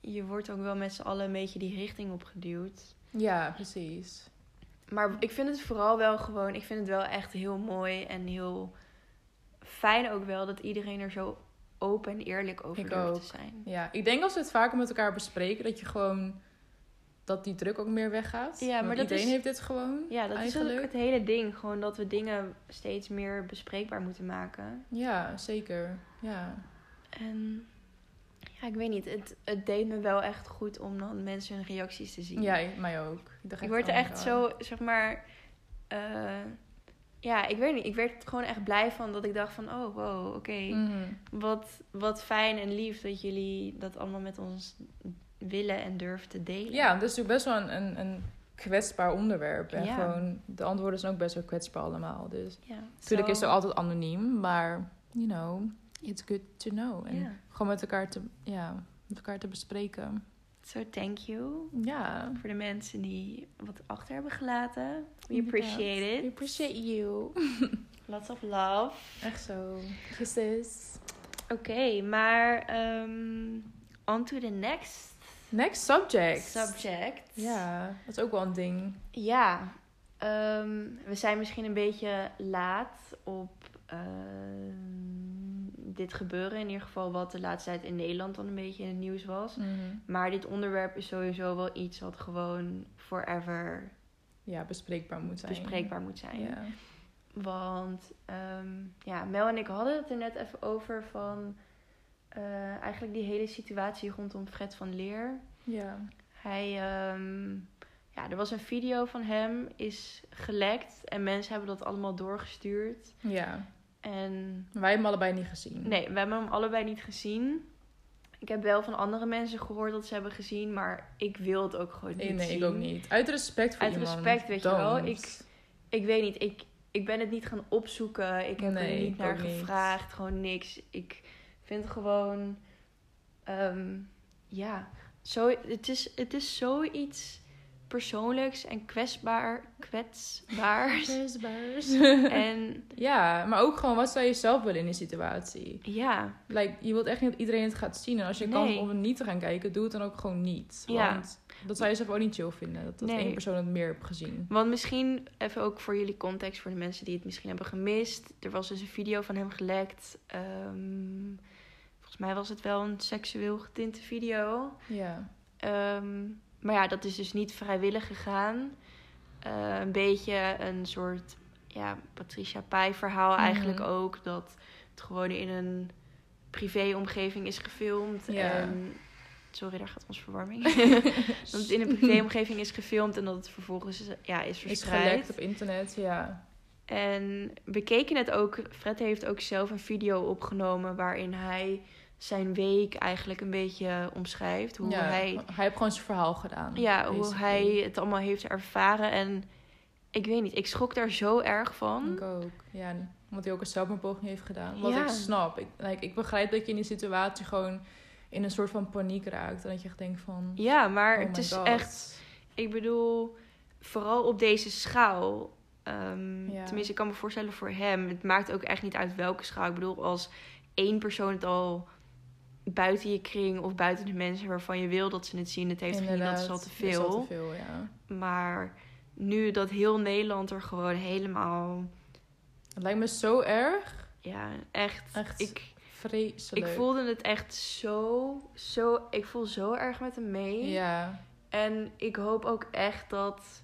S2: je wordt ook wel met z'n allen een beetje die richting opgeduwd.
S1: Ja, precies.
S2: maar ik vind het vooral wel gewoon, ik vind het wel echt heel mooi en heel fijn ook wel dat iedereen er zo open en eerlijk over
S1: Ik
S2: durft
S1: ook.
S2: te zijn.
S1: Ja, ik denk als we het vaker met elkaar bespreken, dat je gewoon dat die druk ook meer weggaat.
S2: Ja, maar
S1: Want
S2: dat
S1: iedereen
S2: is-
S1: heeft dit gewoon.
S2: Ja, dat is
S1: Eigenlijk.
S2: ook het hele ding. Gewoon dat we dingen steeds meer bespreekbaar moeten maken.
S1: Ja, zeker. Ja.
S2: En ja, ik weet niet. Het, het deed me wel echt goed om dan mensen hun reacties te zien.
S1: Ja, ik- mij ook. dacht
S2: ik word er
S1: oh my
S2: echt
S1: God.
S2: zo, zeg maar... eh, ja, ik weet niet. Ik werd er gewoon echt blij van dat ik dacht van... Oh, wow, oké.
S1: Mhm.
S2: Wat, wat fijn en lief dat jullie dat allemaal met ons willen en durven te delen.
S1: Ja, dat is natuurlijk best wel een, een, een kwetsbaar onderwerp. En
S2: Ja.
S1: gewoon, de antwoorden zijn ook best wel kwetsbaar allemaal. Dus
S2: Ja,
S1: natuurlijk
S2: zo-
S1: is het altijd anoniem, maar you know, it's good to know. En
S2: Ja.
S1: gewoon met elkaar te, ja, met elkaar te bespreken.
S2: Zo, thank you.
S1: Ja.
S2: Voor de mensen die wat achter hebben gelaten. We
S1: Inderdaad.
S2: appreciate
S1: We
S2: it.
S1: appreciate you.
S2: Lots of love.
S1: Echt zo. Kisses.
S2: Oké, maar ehm on to the next
S1: Next subject.
S2: subject.
S1: Ja, dat is ook wel een ding.
S2: Ja. ehm, we zijn misschien een beetje laat op ehm, dit gebeuren. In ieder geval wat de laatste tijd in Nederland dan een beetje in het nieuws was. Maar dit onderwerp is sowieso wel iets wat gewoon forever
S1: Ja, bespreekbaar moet zijn.
S2: bespreekbaar moet zijn.
S1: Ja.
S2: Want ehm, ja, Mel en ik hadden het er net even over van eh, eigenlijk die hele situatie rondom Fred van Leer.
S1: ja.
S2: Hij, ehm, ja, er was een video van hem, is gelekt en mensen hebben dat allemaal doorgestuurd.
S1: Ja.
S2: En
S1: Wij hebben hem allebei niet gezien.
S2: nee, we hebben hem allebei niet gezien. Ik heb wel van andere mensen gehoord dat ze hebben gezien, maar ik wil het ook gewoon niet
S1: Nee, nee, ik
S2: zien.
S1: ook niet. Uit respect voor
S2: Uit
S1: iemand.
S2: respect, weet je wel.
S1: don't.
S2: Ik- Ik weet niet, ik, ik ben het niet gaan opzoeken. Ik heb
S1: Nee,
S2: er niet
S1: ik
S2: naar
S1: ook niet.
S2: gevraagd, gewoon niks. Ik vind gewoon, ehm, ja, zo, het, is, het is zoiets persoonlijks en kwetsbaar, kwetsbaars. en
S1: ja, maar ook gewoon, wat zou je zelf willen in die situatie?
S2: ja,
S1: Like, je wilt echt niet dat iedereen het gaat zien. En als je kans
S2: Nee.
S1: hebt om het niet te gaan kijken, doe het dan ook gewoon niet.
S2: Ja.
S1: Want dat zou je zelf ook niet chill vinden. Dat, dat
S2: Nee.
S1: één persoon het meer hebt gezien.
S2: want misschien even ook voor jullie context, voor de mensen die het misschien hebben gemist. Er was dus een video van hem gelekt. Ehm, volgens mij was het wel een seksueel getinte video.
S1: Ja.
S2: Ehm, maar ja, dat is dus niet vrijwillig gegaan. Eh, een beetje een soort ja, Patricia Pai verhaal
S1: Mhm.
S2: eigenlijk ook. Dat het gewoon in een privéomgeving is gefilmd.
S1: Ja.
S2: En, sorry, daar gaat onze verwarming. dat het in een privéomgeving is gefilmd en dat het vervolgens ja, is
S1: Is
S2: verspreid.
S1: gelekt op internet, ja.
S2: En we keken het ook. Fred heeft ook zelf een video opgenomen waarin hij zijn week eigenlijk een beetje omschrijft. Hoe
S1: ja.
S2: hij
S1: heeft gewoon zijn verhaal gedaan.
S2: ja, hoe
S1: basically.
S2: hij het allemaal heeft ervaren. En ik weet niet, ik schrok daar zo erg van.
S1: Ik ook. Ja, omdat hij ook een zelfmoordpoging heeft gedaan. Wat
S2: Ja.
S1: ik snap. Ik, like, ik begrijp dat je in die situatie gewoon in een soort van paniek raakt. En dat je echt denkt van...
S2: Ja, maar
S1: oh
S2: het
S1: my
S2: is
S1: God.
S2: echt, ik bedoel, vooral op deze schaal. ehm,
S1: Ja.
S2: Tenminste, ik kan me voorstellen voor hem. Het maakt ook echt niet uit welke schaal. Ik bedoel, als één persoon het al buiten je kring of buiten de mensen waarvan je wil dat ze het zien, het heeft gezien, dat is al te
S1: Is al
S2: veel.
S1: te veel, ja.
S2: Maar nu dat heel Nederland er gewoon helemaal,
S1: Het lijkt me zo erg.
S2: ja, echt.
S1: Echt
S2: Ik,
S1: vreselijk.
S2: Ik voelde het echt zo, zo. Ik voel zo erg met hem mee.
S1: Ja.
S2: En ik hoop ook echt dat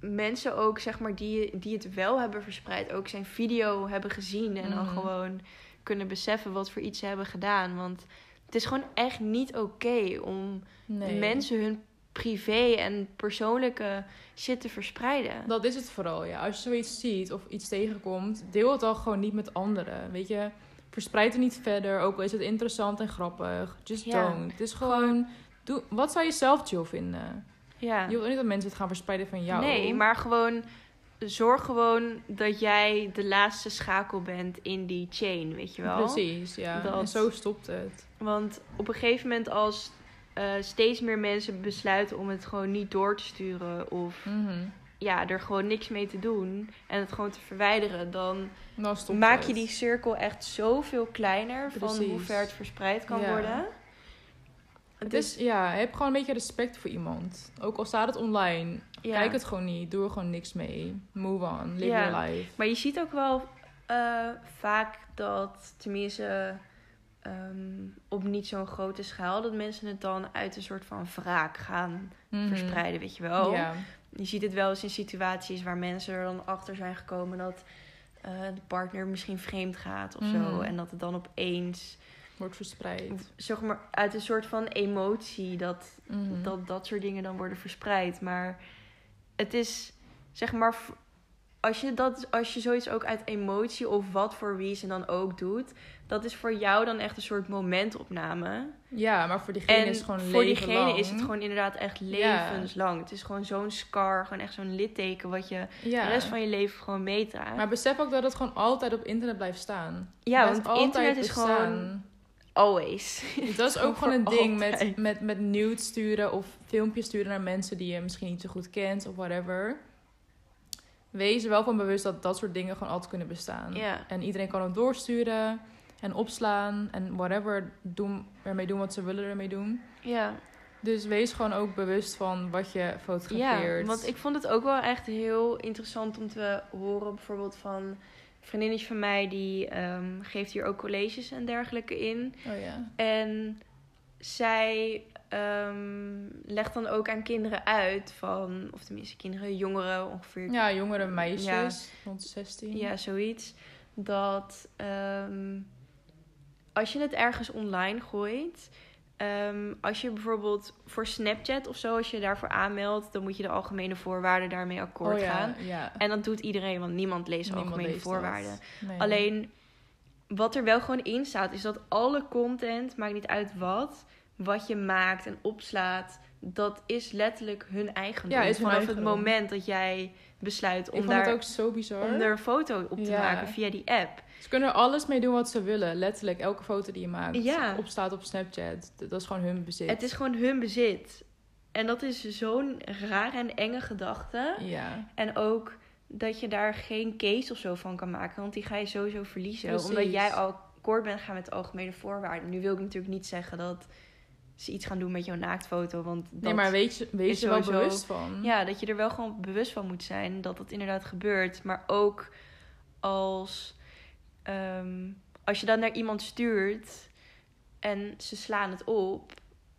S2: mensen ook, zeg maar, die, die het wel hebben verspreid, ook zijn video hebben gezien. En dan
S1: Mhm.
S2: gewoon kunnen beseffen wat voor iets ze hebben gedaan. Want het is gewoon echt niet oké om
S1: Nee.
S2: mensen hun privé en persoonlijke shit te verspreiden.
S1: Dat is het vooral, ja. Als je zoiets ziet of iets tegenkomt, deel het al gewoon niet met anderen. Weet je, verspreid het niet verder. Ook al is het interessant en grappig. Just
S2: Ja.
S1: don't. Het is gewoon... Doe, wat zou je zelf chill vinden?
S2: ja.
S1: Je wilt ook niet dat mensen het gaan verspreiden van jou.
S2: Nee, maar gewoon zorg gewoon dat jij de laatste schakel bent in die chain, weet je wel?
S1: Precies, ja.
S2: Dat-
S1: En zo stopt het.
S2: Want op een gegeven moment als eh, steeds meer mensen besluiten om het gewoon niet door te sturen of
S1: Mhm.
S2: ja, er gewoon niks mee te doen en het gewoon te verwijderen, dan
S1: Dan stopt
S2: maak
S1: het.
S2: je die cirkel echt zoveel kleiner van
S1: Precies.
S2: hoe ver het verspreid kan Dus
S1: Ja.
S2: worden.
S1: Het is, Dus ja, heb gewoon een beetje respect voor iemand. Ook al staat het online,
S2: ja.
S1: kijk het gewoon niet. Doe er gewoon niks mee. Move on, live
S2: Ja.
S1: your life.
S2: Maar je ziet ook wel eh, vaak dat, tenminste ehm, op niet zo'n grote schaal, dat mensen het dan uit een soort van wraak gaan
S1: Mhm.
S2: verspreiden, weet je wel.
S1: Ja.
S2: Je ziet het wel eens in situaties waar mensen er dan achter zijn gekomen dat eh, de partner misschien vreemd gaat of zo.
S1: Mhm.
S2: En dat het dan opeens,
S1: Wordt verspreid.
S2: zeg maar, uit een soort van emotie dat
S1: Mhm.
S2: dat dat soort dingen dan worden verspreid. Maar het is, zeg maar, v- als je, dat, als je zoiets ook uit emotie of wat voor reason dan ook doet, dat is voor jou dan echt een soort momentopname.
S1: Ja, maar voor diegene
S2: en
S1: is het gewoon
S2: voor
S1: leven
S2: diegene
S1: lang.
S2: is het gewoon inderdaad echt levenslang. Het is gewoon zo'n scar, gewoon echt zo'n litteken wat je
S1: Ja.
S2: de rest van je leven gewoon meedraagt.
S1: Maar besef ook dat het gewoon altijd op internet blijft staan.
S2: ja,
S1: Blijft
S2: want internet is
S1: bestaan.
S2: gewoon always.
S1: Dat is ook
S2: Voor
S1: gewoon een ding met,
S2: altijd.
S1: met, met nudes sturen of filmpjes sturen naar mensen die je misschien niet zo goed kent of whatever. Wees er wel van bewust dat dat soort dingen gewoon altijd kunnen bestaan.
S2: Ja.
S1: En iedereen kan het doorsturen en opslaan en whatever doen, ermee doen wat ze willen ermee doen.
S2: ja.
S1: Dus wees gewoon ook bewust van wat je fotografeert.
S2: Ja, want ik vond het ook wel echt heel interessant om te horen. Bijvoorbeeld van een vriendinnetje van mij, die ehm, geeft hier ook colleges en dergelijke in.
S1: Oh ja.
S2: En zij ehm, legt dan ook aan kinderen uit van, of tenminste kinderen, jongeren ongeveer.
S1: Ja, jongere meisjes rond 16.
S2: Ja, zoiets. Dat ehm, als je het ergens online gooit. ehm, als je bijvoorbeeld voor Snapchat of zo, als je daarvoor aanmeldt, dan moet je de algemene voorwaarden daarmee akkoord
S1: Oh
S2: gaan.
S1: ja, ja.
S2: En dat doet iedereen, want niemand leest
S1: Niemand
S2: algemene
S1: leest dat.
S2: voorwaarden.
S1: Nee.
S2: Alleen wat er wel gewoon in staat, is dat alle content, maakt niet uit wat, wat je maakt en opslaat, dat is letterlijk hun eigendom.
S1: Ja, is hun
S2: Vanaf
S1: eigendom.
S2: het moment dat jij besluit
S1: ik
S2: om,
S1: vond het
S2: daar,
S1: ook zo bizar.
S2: om er een foto op te
S1: Ja.
S2: maken via die app.
S1: Ze kunnen er alles mee doen wat ze willen. Letterlijk, elke foto die je maakt.
S2: Ja.
S1: Opstaat op Snapchat. D- Dat is gewoon hun bezit.
S2: Het is gewoon hun bezit. En dat is zo'n rare en enge gedachte.
S1: Ja.
S2: En ook dat je daar geen case of zo van kan maken. Want die ga je sowieso verliezen.
S1: Precies.
S2: Omdat jij al kort bent gaan met algemene voorwaarden. Nu wil ik natuurlijk niet zeggen dat ze iets gaan doen met jouw naaktfoto. Want dat,
S1: Nee, maar wees, je- wees
S2: is
S1: je wel
S2: sowieso-
S1: bewust van.
S2: ja, dat je er wel gewoon bewust van moet zijn dat dat inderdaad gebeurt. Maar ook als, ehm, als je dat naar iemand stuurt en ze slaan het op.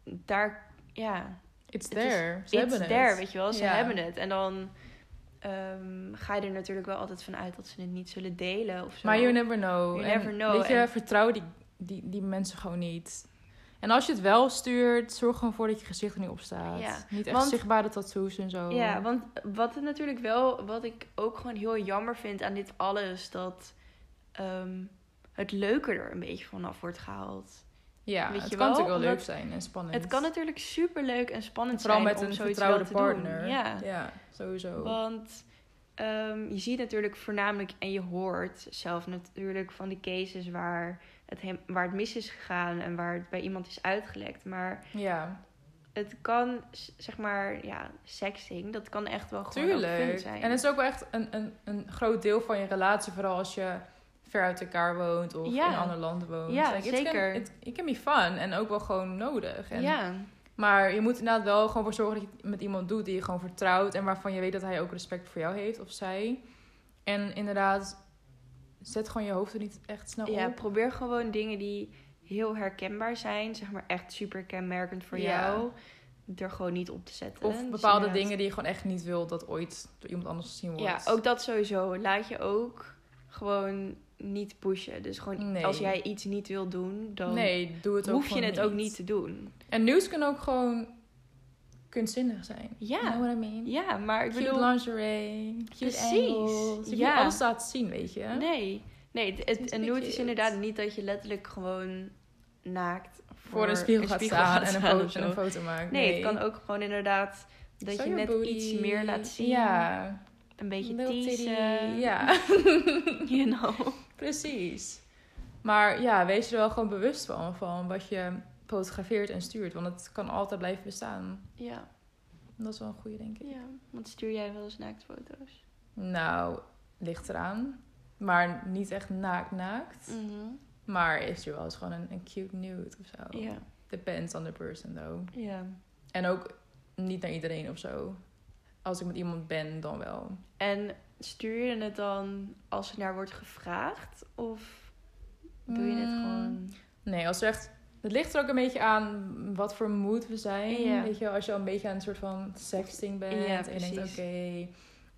S2: Daar, ja,
S1: It's
S2: Het is-
S1: there. Ze
S2: it's
S1: hebben het.
S2: there, weet je wel. Ze
S1: Ja.
S2: hebben het. En dan ehm, ga je er natuurlijk wel altijd van uit dat ze het niet zullen delen of zo.
S1: Maar you never know.
S2: You
S1: En
S2: never know.
S1: Weet je,
S2: En-
S1: vertrouw die, die, die mensen gewoon niet. En als je het wel stuurt, zorg gewoon voor dat je gezicht er niet op staat.
S2: Ja.
S1: Niet echt
S2: Want-
S1: zichtbare tattoos en zo.
S2: Ja, want wat het natuurlijk wel, wat ik ook gewoon heel jammer vind aan dit alles, dat ehm, het leuke er een beetje vanaf wordt gehaald.
S1: Ja,
S2: Weet
S1: het
S2: je
S1: kan
S2: wel?
S1: natuurlijk wel leuk
S2: Omdat-
S1: zijn en spannend.
S2: Het kan natuurlijk superleuk en spannend
S1: Vooral
S2: zijn
S1: met
S2: om
S1: een
S2: zoiets
S1: vertrouwde
S2: wel te doen.
S1: partner.
S2: Ja.
S1: ja, sowieso.
S2: Want ehm, je ziet natuurlijk voornamelijk en je hoort zelf natuurlijk van de cases waar het, hem- waar het mis is gegaan en waar het bij iemand is uitgelekt. Maar
S1: Ja,
S2: het kan, s- zeg maar, ja, sexting, dat kan echt wel gewoon ook fun
S1: tuurlijk.
S2: zijn.
S1: En het is ook wel echt een, een, een groot deel van je relatie, vooral als je ver uit elkaar woont of
S2: Ja.
S1: in een ander land woont.
S2: Ja,
S1: Like, it's
S2: zeker.
S1: Can, it, it can be fun en ook wel gewoon nodig. En,
S2: Ja,
S1: Maar je moet inderdaad wel gewoon voor zorgen dat je het met iemand doet die je gewoon vertrouwt en waarvan je weet dat hij ook respect voor jou heeft of zij. En inderdaad, zet gewoon je hoofd er niet echt snel
S2: ja,
S1: op.
S2: probeer gewoon dingen die heel herkenbaar zijn, zeg maar echt super kenmerkend voor
S1: Ja.
S2: jou, er gewoon niet op te zetten.
S1: Of
S2: Dus
S1: bepaalde
S2: inderdaad-
S1: dingen die je gewoon echt niet wil dat ooit door iemand anders gezien wordt.
S2: Ja, ook dat sowieso. Laat je ook gewoon niet pushen. Dus gewoon
S1: Nee.
S2: als jij iets niet wil doen, dan
S1: nee, doe het ook
S2: hoef je
S1: gewoon
S2: het ook niet te doen.
S1: En nieuws kan ook gewoon kunstzinnig zijn.
S2: Ja.
S1: You know what I mean?
S2: Ja, maar ik
S1: Cute
S2: bedoel...
S1: lingerie, cute
S2: Precies,
S1: angles. Je
S2: ja.
S1: ja. alles laten zien, weet je.
S2: Nee. Nee, het, het,
S1: Niet
S2: een nude is
S1: cute.
S2: inderdaad niet dat je letterlijk gewoon naakt
S1: Voor een spiegel gaat staan en een,
S2: of
S1: foto,
S2: zo.
S1: en een foto maken.
S2: Nee, het kan ook gewoon inderdaad dat
S1: Show
S2: je
S1: your
S2: net
S1: booty.
S2: iets meer laat zien.
S1: Ja.
S2: Een beetje
S1: Little titty.
S2: teasen.
S1: Ja,
S2: You know.
S1: precies. Maar ja, wees er wel gewoon bewust van, van wat je fotografeert en stuurt. Want het kan altijd blijven bestaan.
S2: Ja,
S1: Dat is wel een goede, denk ik.
S2: ja, want stuur jij wel eens naaktfoto's?
S1: Nou, ligt eraan. Maar niet echt naakt naakt.
S2: Mhm.
S1: Maar is er wel eens gewoon een, een cute nude of zo.
S2: Ja.
S1: Depends on the person, though.
S2: Ja.
S1: En ook niet naar iedereen of zo. Als ik met iemand ben, dan wel.
S2: En stuur je het dan als er naar wordt gevraagd? Of doe je het
S1: Mm.
S2: gewoon...
S1: Nee, als er echt... Het ligt er ook een beetje aan wat voor mood we zijn.
S2: Ja.
S1: Weet je, wel, als je al een beetje aan een soort van sexting bent.
S2: Ja,
S1: en je denkt, oké...
S2: precies.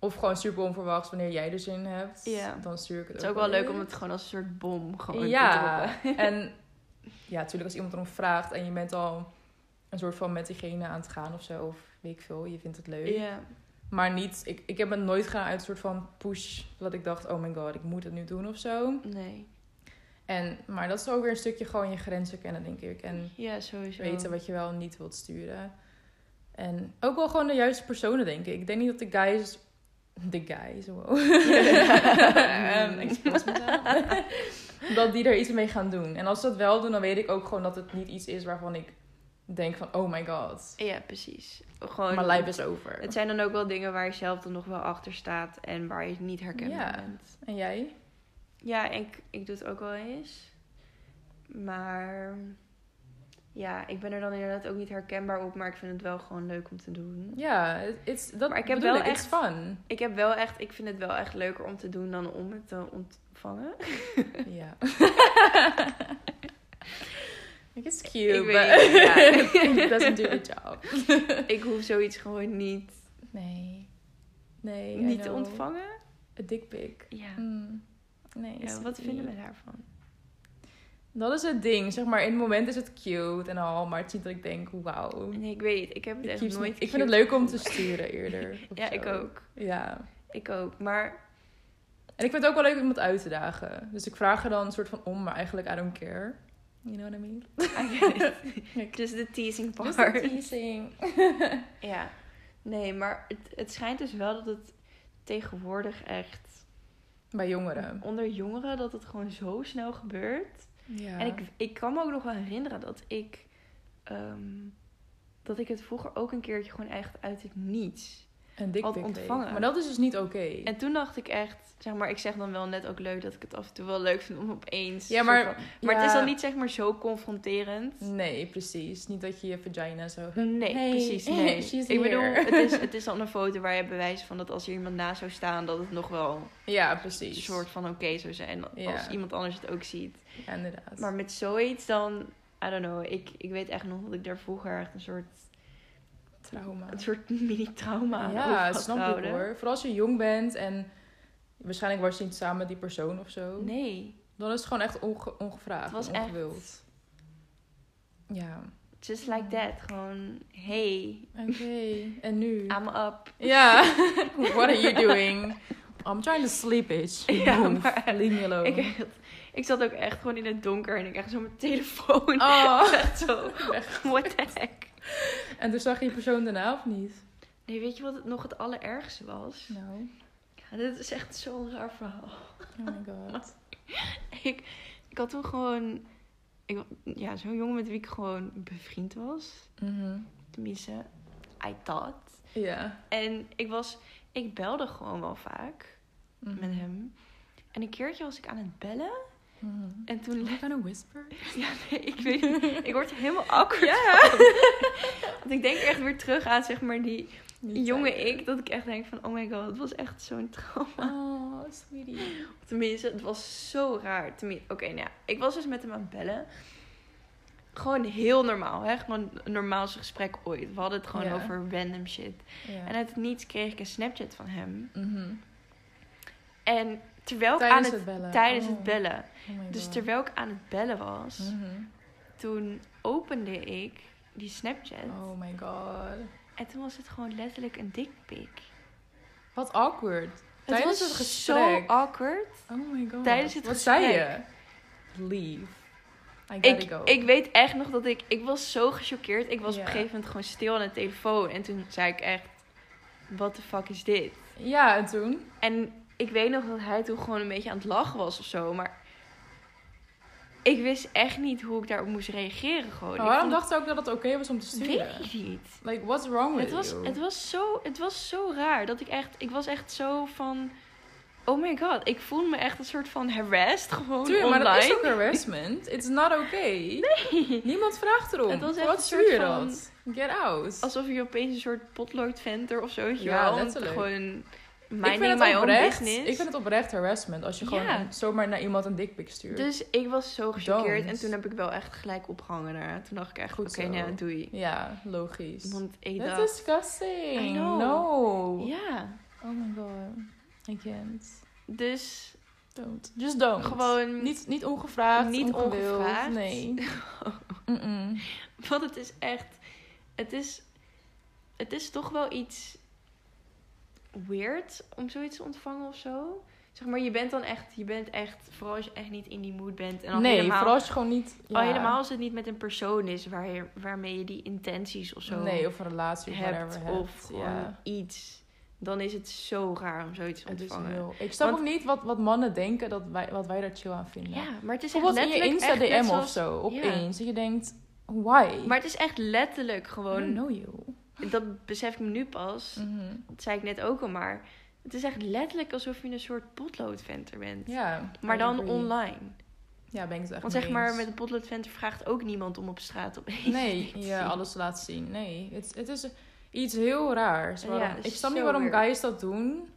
S1: Of gewoon super onverwachts wanneer jij er zin hebt.
S2: Ja.
S1: Dan stuur ik het
S2: Het is ook wel leuk om
S1: weer.
S2: het gewoon als een soort bom gewoon te
S1: ja,
S2: droppen.
S1: en ja, natuurlijk als iemand erom vraagt en je bent al een soort van met diegene aan het gaan of zo, of weet ik veel, je vindt het leuk.
S2: Ja.
S1: Maar niet, ik, ik heb het nooit gedaan uit een soort van push, dat ik dacht, oh my god, ik moet het nu doen of zo.
S2: Nee.
S1: En, maar dat is ook weer een stukje gewoon je grenzen kennen, denk ik. En
S2: Ja, sowieso.
S1: weten wat je wel en niet wilt sturen. En ook wel gewoon de juiste personen, denk ik. Ik denk niet dat de guys... De guys, wow.
S2: Ja.
S1: Ehm, excuus mezelf. dat die er iets mee gaan doen. En als ze dat wel doen, dan weet ik ook gewoon dat het niet iets is waarvan ik denk van... Oh my god,
S2: Ja, precies. Gewoon...
S1: mijn lijf is over.
S2: Het zijn dan ook wel dingen waar je zelf dan nog wel achter staat en waar je het niet herkent
S1: Ja.
S2: bent.
S1: En jij?
S2: Ja, en ik, ik doe het ook wel eens. Maar ja, ik ben er dan inderdaad ook niet herkenbaar op, maar ik vind het wel gewoon leuk om te doen.
S1: Ja, it's, dat
S2: Maar ik heb
S1: bedoel
S2: wel
S1: it's
S2: echt-
S1: fun.
S2: Ik heb wel echt, ik vind het wel echt leuker om te doen dan om het te ontvangen.
S1: Ja. Ik is cute,
S2: Ik
S1: but
S2: weet niet, ja.
S1: it doesn't do the job.
S2: ik hoef zoiets gewoon niet,
S1: Nee. Nee, I
S2: niet te
S1: know.
S2: ontvangen.
S1: A dick pic.
S2: Ja.
S1: Mm. Nee,
S2: Ja,
S1: is het
S2: wat vinden we
S1: niet.
S2: daarvan?
S1: Dat is het ding, zeg maar. In het moment is het cute en al, maar het is niet dat ik denk, wauw.
S2: Nee, ik weet, ik heb het
S1: Ik,
S2: echt
S1: kies
S2: nooit.
S1: niet- ik vind het
S2: cute
S1: leuk om te
S2: gevonden.
S1: sturen eerder. of
S2: Ja,
S1: zo.
S2: ik ook.
S1: Ja.
S2: Ik ook. Maar
S1: En ik vind het ook wel leuk om iemand uit te dagen. Dus ik vraag er dan een soort van om, maar eigenlijk I don't care. You know what I mean?
S2: just the teasing part.
S1: Just a teasing.
S2: Ja, nee, maar het, het schijnt dus wel dat het tegenwoordig echt
S1: Bij jongeren.
S2: onder jongeren dat het gewoon zo snel gebeurt.
S1: Ja.
S2: En ik, ik kan me ook nog wel herinneren dat ik ehm, dat ik het vroeger ook een keertje gewoon echt uit het niets.
S1: een dik
S2: had
S1: pik
S2: ontvangen.
S1: deed. Maar dat is dus niet oké.
S2: En toen dacht ik echt, zeg maar, ik zeg dan wel net ook leuk dat ik het af en toe wel leuk vind om opeens.
S1: Ja, maar-
S2: soort van- maar het
S1: ja.
S2: is dan niet zeg maar zo confronterend.
S1: Nee, precies. Niet dat je je vagina zo...
S2: Nee,
S1: Hey,
S2: precies. Nee.
S1: she's
S2: ik bedoel,
S1: here.
S2: het is, het is dan een foto waar je bewijs van dat als er iemand naast zou staan, dat het nog wel
S1: Ja, precies.
S2: een soort van oké zou zijn. Als
S1: Ja.
S2: iemand anders het ook ziet.
S1: Ja, inderdaad.
S2: Maar met zoiets dan... I don't know. Ik, ik weet echt nog dat ik daar vroeger echt een soort,
S1: Trauma.
S2: een soort mini-trauma aan
S1: Ja,
S2: over
S1: dat
S2: had
S1: snap ik
S2: gehouden.
S1: hoor. Vooral als je jong bent en waarschijnlijk was je niet samen met die persoon of zo.
S2: Nee.
S1: Dan is het gewoon echt onge- ongevraagd.
S2: Het was
S1: en ongewild. Ja.
S2: Just like that. Gewoon, hey,
S1: Oké, en nu?
S2: I'm up.
S1: Ja, what are you doing? I'm trying to sleep, bitch.
S2: Ja,
S1: Move.
S2: maar-
S1: Leave me alone.
S2: Ik, ik zat ook echt gewoon in het donker en ik echt zo mijn telefoon.
S1: Oh.
S2: Echt zo, what the heck.
S1: En toen zag je die persoon daarna of niet?
S2: Nee, weet je wat het nog het allerergste was?
S1: Nou,
S2: Ja, dit is echt zo'n raar verhaal.
S1: oh my god.
S2: Ik, ik had toen gewoon... Ik, ja, zo'n jongen met wie ik gewoon bevriend was.
S1: Mhm.
S2: Tenminste, I thought.
S1: Ja.
S2: En ik was... Ik belde gewoon wel vaak
S1: Mhm.
S2: met hem. En een keertje was ik aan het bellen.
S1: Mhm.
S2: En toen...
S1: Like on a whisper?
S2: Ja, nee, ik weet niet. Ik word er helemaal awkward van. Want ik denk echt weer terug aan, zeg maar, die jonge ik. Dat ik echt denk van, oh my god, het was echt zo'n trauma.
S1: Oh, sweetie.
S2: Tenminste, het was zo raar. Tenmin- Oké, nou ja, ik was dus met hem aan het bellen. Gewoon heel normaal, hè? Gewoon het normaalste gesprek ooit. We hadden het gewoon
S1: Ja.
S2: over random shit.
S1: Ja.
S2: En uit het niets kreeg ik een Snapchat van hem.
S1: Mhm.
S2: En terwijl ik aan
S1: Tijdens
S2: het,
S1: het bellen.
S2: Tijdens
S1: Oh.
S2: het bellen.
S1: Oh my
S2: Dus
S1: God.
S2: terwijl ik aan het bellen was,
S1: Mhm.
S2: toen opende ik die Snapchat.
S1: Oh my god.
S2: En toen was het gewoon letterlijk een dikpik.
S1: Wat awkward. Tijdens
S2: was
S1: het gesprek.
S2: zo awkward.
S1: Oh my god.
S2: Tijdens het
S1: Wat
S2: gesprek.
S1: zei je? Leave. I gotta
S2: Ik,
S1: go.
S2: ik weet echt nog dat ik... Ik was zo gechoqueerd. Ik was
S1: Ja.
S2: op een gegeven moment gewoon stil aan de telefoon. En toen zei ik echt... What the fuck is dit?
S1: Ja, en
S2: Oh,
S1: toen?
S2: En ik weet nog dat hij toen gewoon een beetje aan het lachen was of zo. Maar ik wist echt niet hoe ik daarop moest reageren gewoon.
S1: Maar
S2: ik
S1: waarom
S2: vond het-
S1: dacht je ook dat het oké was om te sturen?
S2: Weet ik niet.
S1: Like, what's wrong with
S2: Het was,
S1: you?
S2: het, was zo, het was zo raar dat ik echt... Ik was echt zo van... Oké, oh my god, ik voel me echt een soort van harassed gewoon
S1: Tuurlijk, maar
S2: online.
S1: dat is ook harassment. It's not okay. Niemand vraagt erom.
S2: Het was echt
S1: Wat
S2: een
S1: stuur je
S2: soort van-
S1: dat? Get out.
S2: Alsof je opeens een soort potloodventer of zo, weet je
S1: Ja,
S2: wel. Want
S1: letterlijk.
S2: Gewoon
S1: ik vind
S2: minding
S1: het
S2: my own
S1: oprecht.
S2: business.
S1: Ik vind het oprecht harassment als je gewoon
S2: Ja.
S1: een- zomaar naar iemand een dikpik stuurt.
S2: Dus ik was zo gechoqueerd en
S1: Don't.
S2: toen heb ik wel echt gelijk opgehangen daarna. Toen dacht ik echt,
S1: Goed
S2: oké,
S1: zo.
S2: nou doei.
S1: Ja, logisch.
S2: Want ik
S1: That's
S2: dacht,
S1: disgusting.
S2: I know.
S1: No.
S2: ja.
S1: Oh my god. I can't.
S2: Dus
S1: Don't. Just don't.
S2: Gewoon
S1: Niet, niet ongevraagd.
S2: niet
S1: ongewild.
S2: ongevraagd.
S1: Nee. Mm-mm.
S2: Want het is echt. Het is. Het is toch wel iets. weird om zoiets te ontvangen of zo. Zeg maar, je bent dan echt. Je bent echt. Vooral als je echt niet in die mood bent. En al
S1: Nee,
S2: helemaal,
S1: vooral als je gewoon niet...
S2: Al
S1: ja.
S2: helemaal als het niet met een persoon is waar je, waarmee je die intenties of zo
S1: Nee, of een relatie of
S2: hebt.
S1: whatever
S2: Of
S1: hebt.
S2: gewoon
S1: Ja.
S2: iets. Dan is het zo raar om zoiets te
S1: Het is
S2: ontvangen.
S1: heel... Ik snap
S2: Want-
S1: ook niet wat, wat mannen denken dat wij, wat wij daar chill aan vinden.
S2: Ja, maar het is echt
S1: Bijvoorbeeld in je
S2: letterlijk echt net
S1: Insta-DM of
S2: zoals-
S1: zo,
S2: ja.
S1: opeens. Dat je denkt, why?
S2: Maar het is echt letterlijk
S1: I don't
S2: gewoon.
S1: know you.
S2: Dat besef ik me nu pas.
S1: Mhm.
S2: Dat zei ik net ook al, maar het is echt letterlijk alsof je een soort potloodventer bent.
S1: Ja.
S2: Maar
S1: I
S2: dan
S1: agree.
S2: online.
S1: Ja, ben ik het echt
S2: Want
S1: mee
S2: zeg maar,
S1: eens.
S2: met een potloodventer vraagt ook niemand om op straat op
S1: Nee, je alles laat zien. Nee, het, het is iets heel raars.
S2: Ja,
S1: Waarom-
S2: het is
S1: ik snap niet
S2: zo
S1: waarom
S2: weird.
S1: guys dat doen.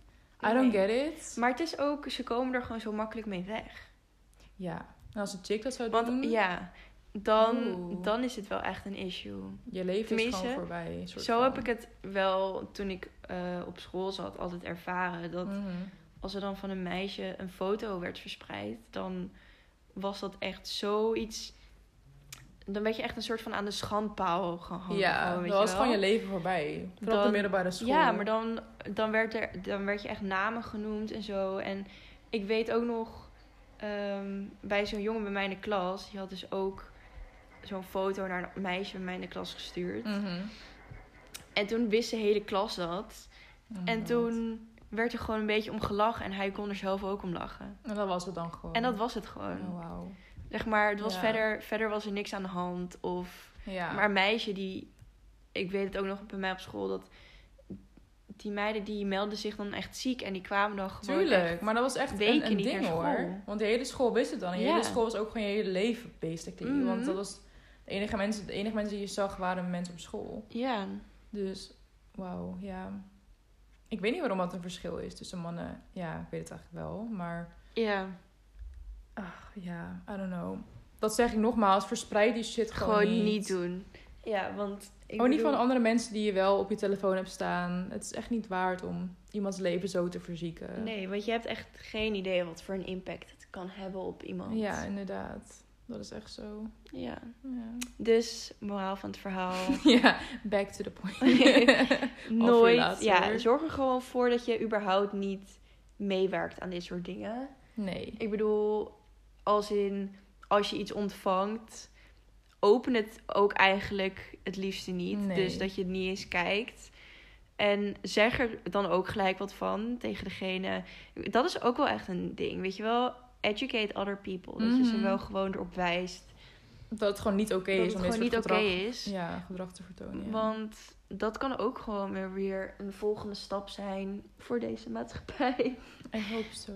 S1: I don't
S2: Nee.
S1: get it.
S2: Maar het is ook, ze komen er gewoon zo makkelijk mee weg.
S1: Ja. En als een chick dat zou doen,
S2: Want ja, dan,
S1: Mm. Oeh.
S2: dan is het wel echt een issue.
S1: je leven is
S2: tenminste,
S1: gewoon voorbij. soort
S2: Zo
S1: van.
S2: heb ik het wel toen ik eh, op school zat altijd ervaren. Dat
S1: Mhm.
S2: als er dan van een meisje een foto werd verspreid, dan was dat echt zoiets. Dan werd je echt een soort van aan de schandpaal gehangen.
S1: Ja,
S2: gewoon, Oh, weet
S1: dat was
S2: wel.
S1: gewoon je leven voorbij. Vooral op de
S2: Dan-
S1: middelbare school.
S2: Ja, maar dan, dan, werd er, dan werd je echt namen genoemd en zo. En ik weet ook nog, ehm, bij zo'n jongen bij mij in de klas, die had dus ook zo'n foto naar een meisje bij mij in de klas gestuurd.
S1: Mhm.
S2: En toen wist de hele klas dat.
S1: Oh my
S2: En
S1: God.
S2: toen werd er gewoon een beetje om gelachen en hij kon er zelf ook om lachen.
S1: En dat was het dan gewoon.
S2: En dat was het gewoon.
S1: Oh, wauw.
S2: Zeg maar, het was
S1: Ja.
S2: verder, verder was er niks aan de hand. Of,
S1: Ja.
S2: Maar een meisje die... Ik weet het ook nog bij mij op school, dat... Die meiden die melden zich dan echt ziek en die kwamen dan gewoon...
S1: Tuurlijk,
S2: echt-
S1: maar dat was echt een,
S2: weken
S1: een
S2: niet
S1: ding
S2: naar school.
S1: hoor. Want de hele school wist het dan. En je
S2: Ja.
S1: hele school was ook gewoon je hele leven basically.
S2: Mhm.
S1: Want dat was de enige mensen, de enige mensen die je zag waren mensen op school.
S2: Ja,
S1: Dus wauw, ja. Ik weet niet waarom dat een verschil is tussen mannen. Ja, ik weet het eigenlijk wel. Maar
S2: ja.
S1: ach, ja, I don't know. Dat zeg ik nogmaals, verspreid die shit gewoon,
S2: Gewoon, niet doen. Ja, want... Ik
S1: Ook niet
S2: bedoel-
S1: van andere mensen die je wel op je telefoon hebt staan. Het is echt niet waard om iemands leven zo te verzieken.
S2: Nee, want je hebt echt geen idee wat voor een impact het kan hebben op iemand.
S1: Ja, inderdaad. Dat is echt zo.
S2: ja.
S1: Ja.
S2: Dus, moraal van het verhaal.
S1: Ja, back to the point.
S2: Nooit.
S1: later.
S2: Ja, zorg er gewoon voor dat je überhaupt niet meewerkt aan dit soort dingen.
S1: nee.
S2: Ik bedoel, als in als je iets ontvangt, open het ook eigenlijk het liefste niet.
S1: Nee.
S2: Dus dat je het niet eens kijkt. En zeg er dan ook gelijk wat van tegen degene. Dat is ook wel echt een ding. Weet je wel, educate other people. Dat je ze
S1: Mhm.
S2: wel gewoon erop wijst.
S1: Dat het gewoon niet oké
S2: dat
S1: is
S2: het
S1: om dit
S2: gewoon
S1: soort
S2: niet oké
S1: gedrag,
S2: is.
S1: ja, gedrag te vertonen. ja.
S2: Want dat kan ook gewoon weer, weer een volgende stap zijn voor deze maatschappij.
S1: I hope so.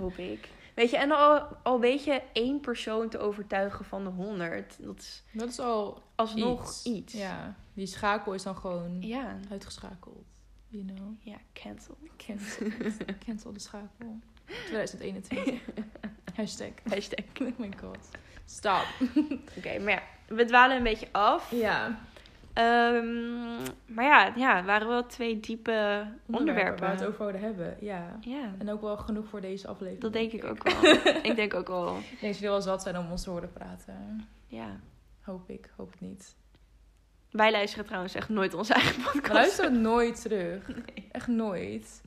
S2: Hoop ik. Weet je, en al, al weet je één persoon te overtuigen van de honderd, dat is
S1: Dat is al
S2: alsnog
S1: iets.
S2: iets.
S1: Ja, die schakel is dan gewoon
S2: ja.
S1: uitgeschakeld. You know,
S2: Ja, cancel.
S1: cancel, cancel de schakel. 2021. Hashtag.
S2: Hashtag.
S1: Oh my god. Stop.
S2: Oké, maar ja, we dwalen een beetje af.
S1: Ja.
S2: Ehm, maar ja, ja, het waren wel twee diepe onderwerpen.
S1: Waar we het over zouden hebben. Ja.
S2: Ja,
S1: En ook wel genoeg voor deze aflevering.
S2: dat denk ik ook wel. ik denk ook wel,
S1: Ik denk dat jullie wel zat zijn om ons te horen praten.
S2: ja.
S1: Hoop ik, hoop het niet.
S2: Wij luisteren trouwens echt nooit onze eigen podcast.
S1: Luister het nooit terug. Echt nooit.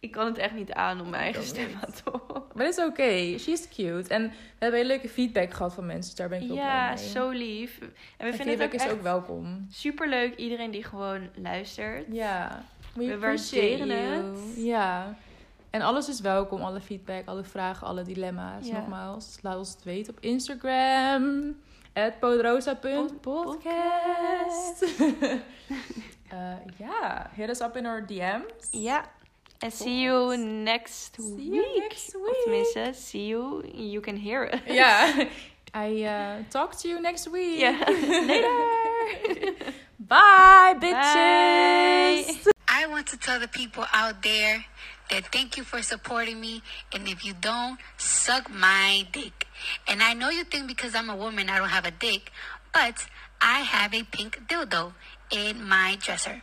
S2: Ik kan het echt niet aan om mijn eigen
S1: ook
S2: stem
S1: niet.
S2: aan te horen.
S1: Maar dat is oké. She's cute. En we hebben hele leuke feedback gehad van mensen. Dus daar ben ik ook blij
S2: Ja,
S1: mee.
S2: zo lief. En we
S1: En
S2: vinden het
S1: feedback
S2: ook
S1: is
S2: echt
S1: ook welkom.
S2: superleuk. Iedereen die gewoon luistert.
S1: Ja. We,
S2: We
S1: appreciate
S2: waarderen
S1: you.
S2: het.
S1: Ja. En alles is welkom. Alle feedback, alle vragen, alle dilemma's.
S2: Ja.
S1: Nogmaals, laat ons het weten op Instagram. At podrosa.podcast
S2: podcast.
S1: Eh, Ja, hit us up in our DM's.
S2: Ja. And see you next week.
S1: See you next
S2: Of
S1: week.
S2: tenminste, see you. You can hear us.
S1: Yeah. I uh, talk to you next week.
S2: Yeah. Later.
S1: Bye, bitches.
S2: Bye.
S3: I want to tell the people out there that thank you for supporting me. And if you don't, suck my dick. And I know you think because I'm a woman, I don't have a dick, but I have a pink dildo in my dresser.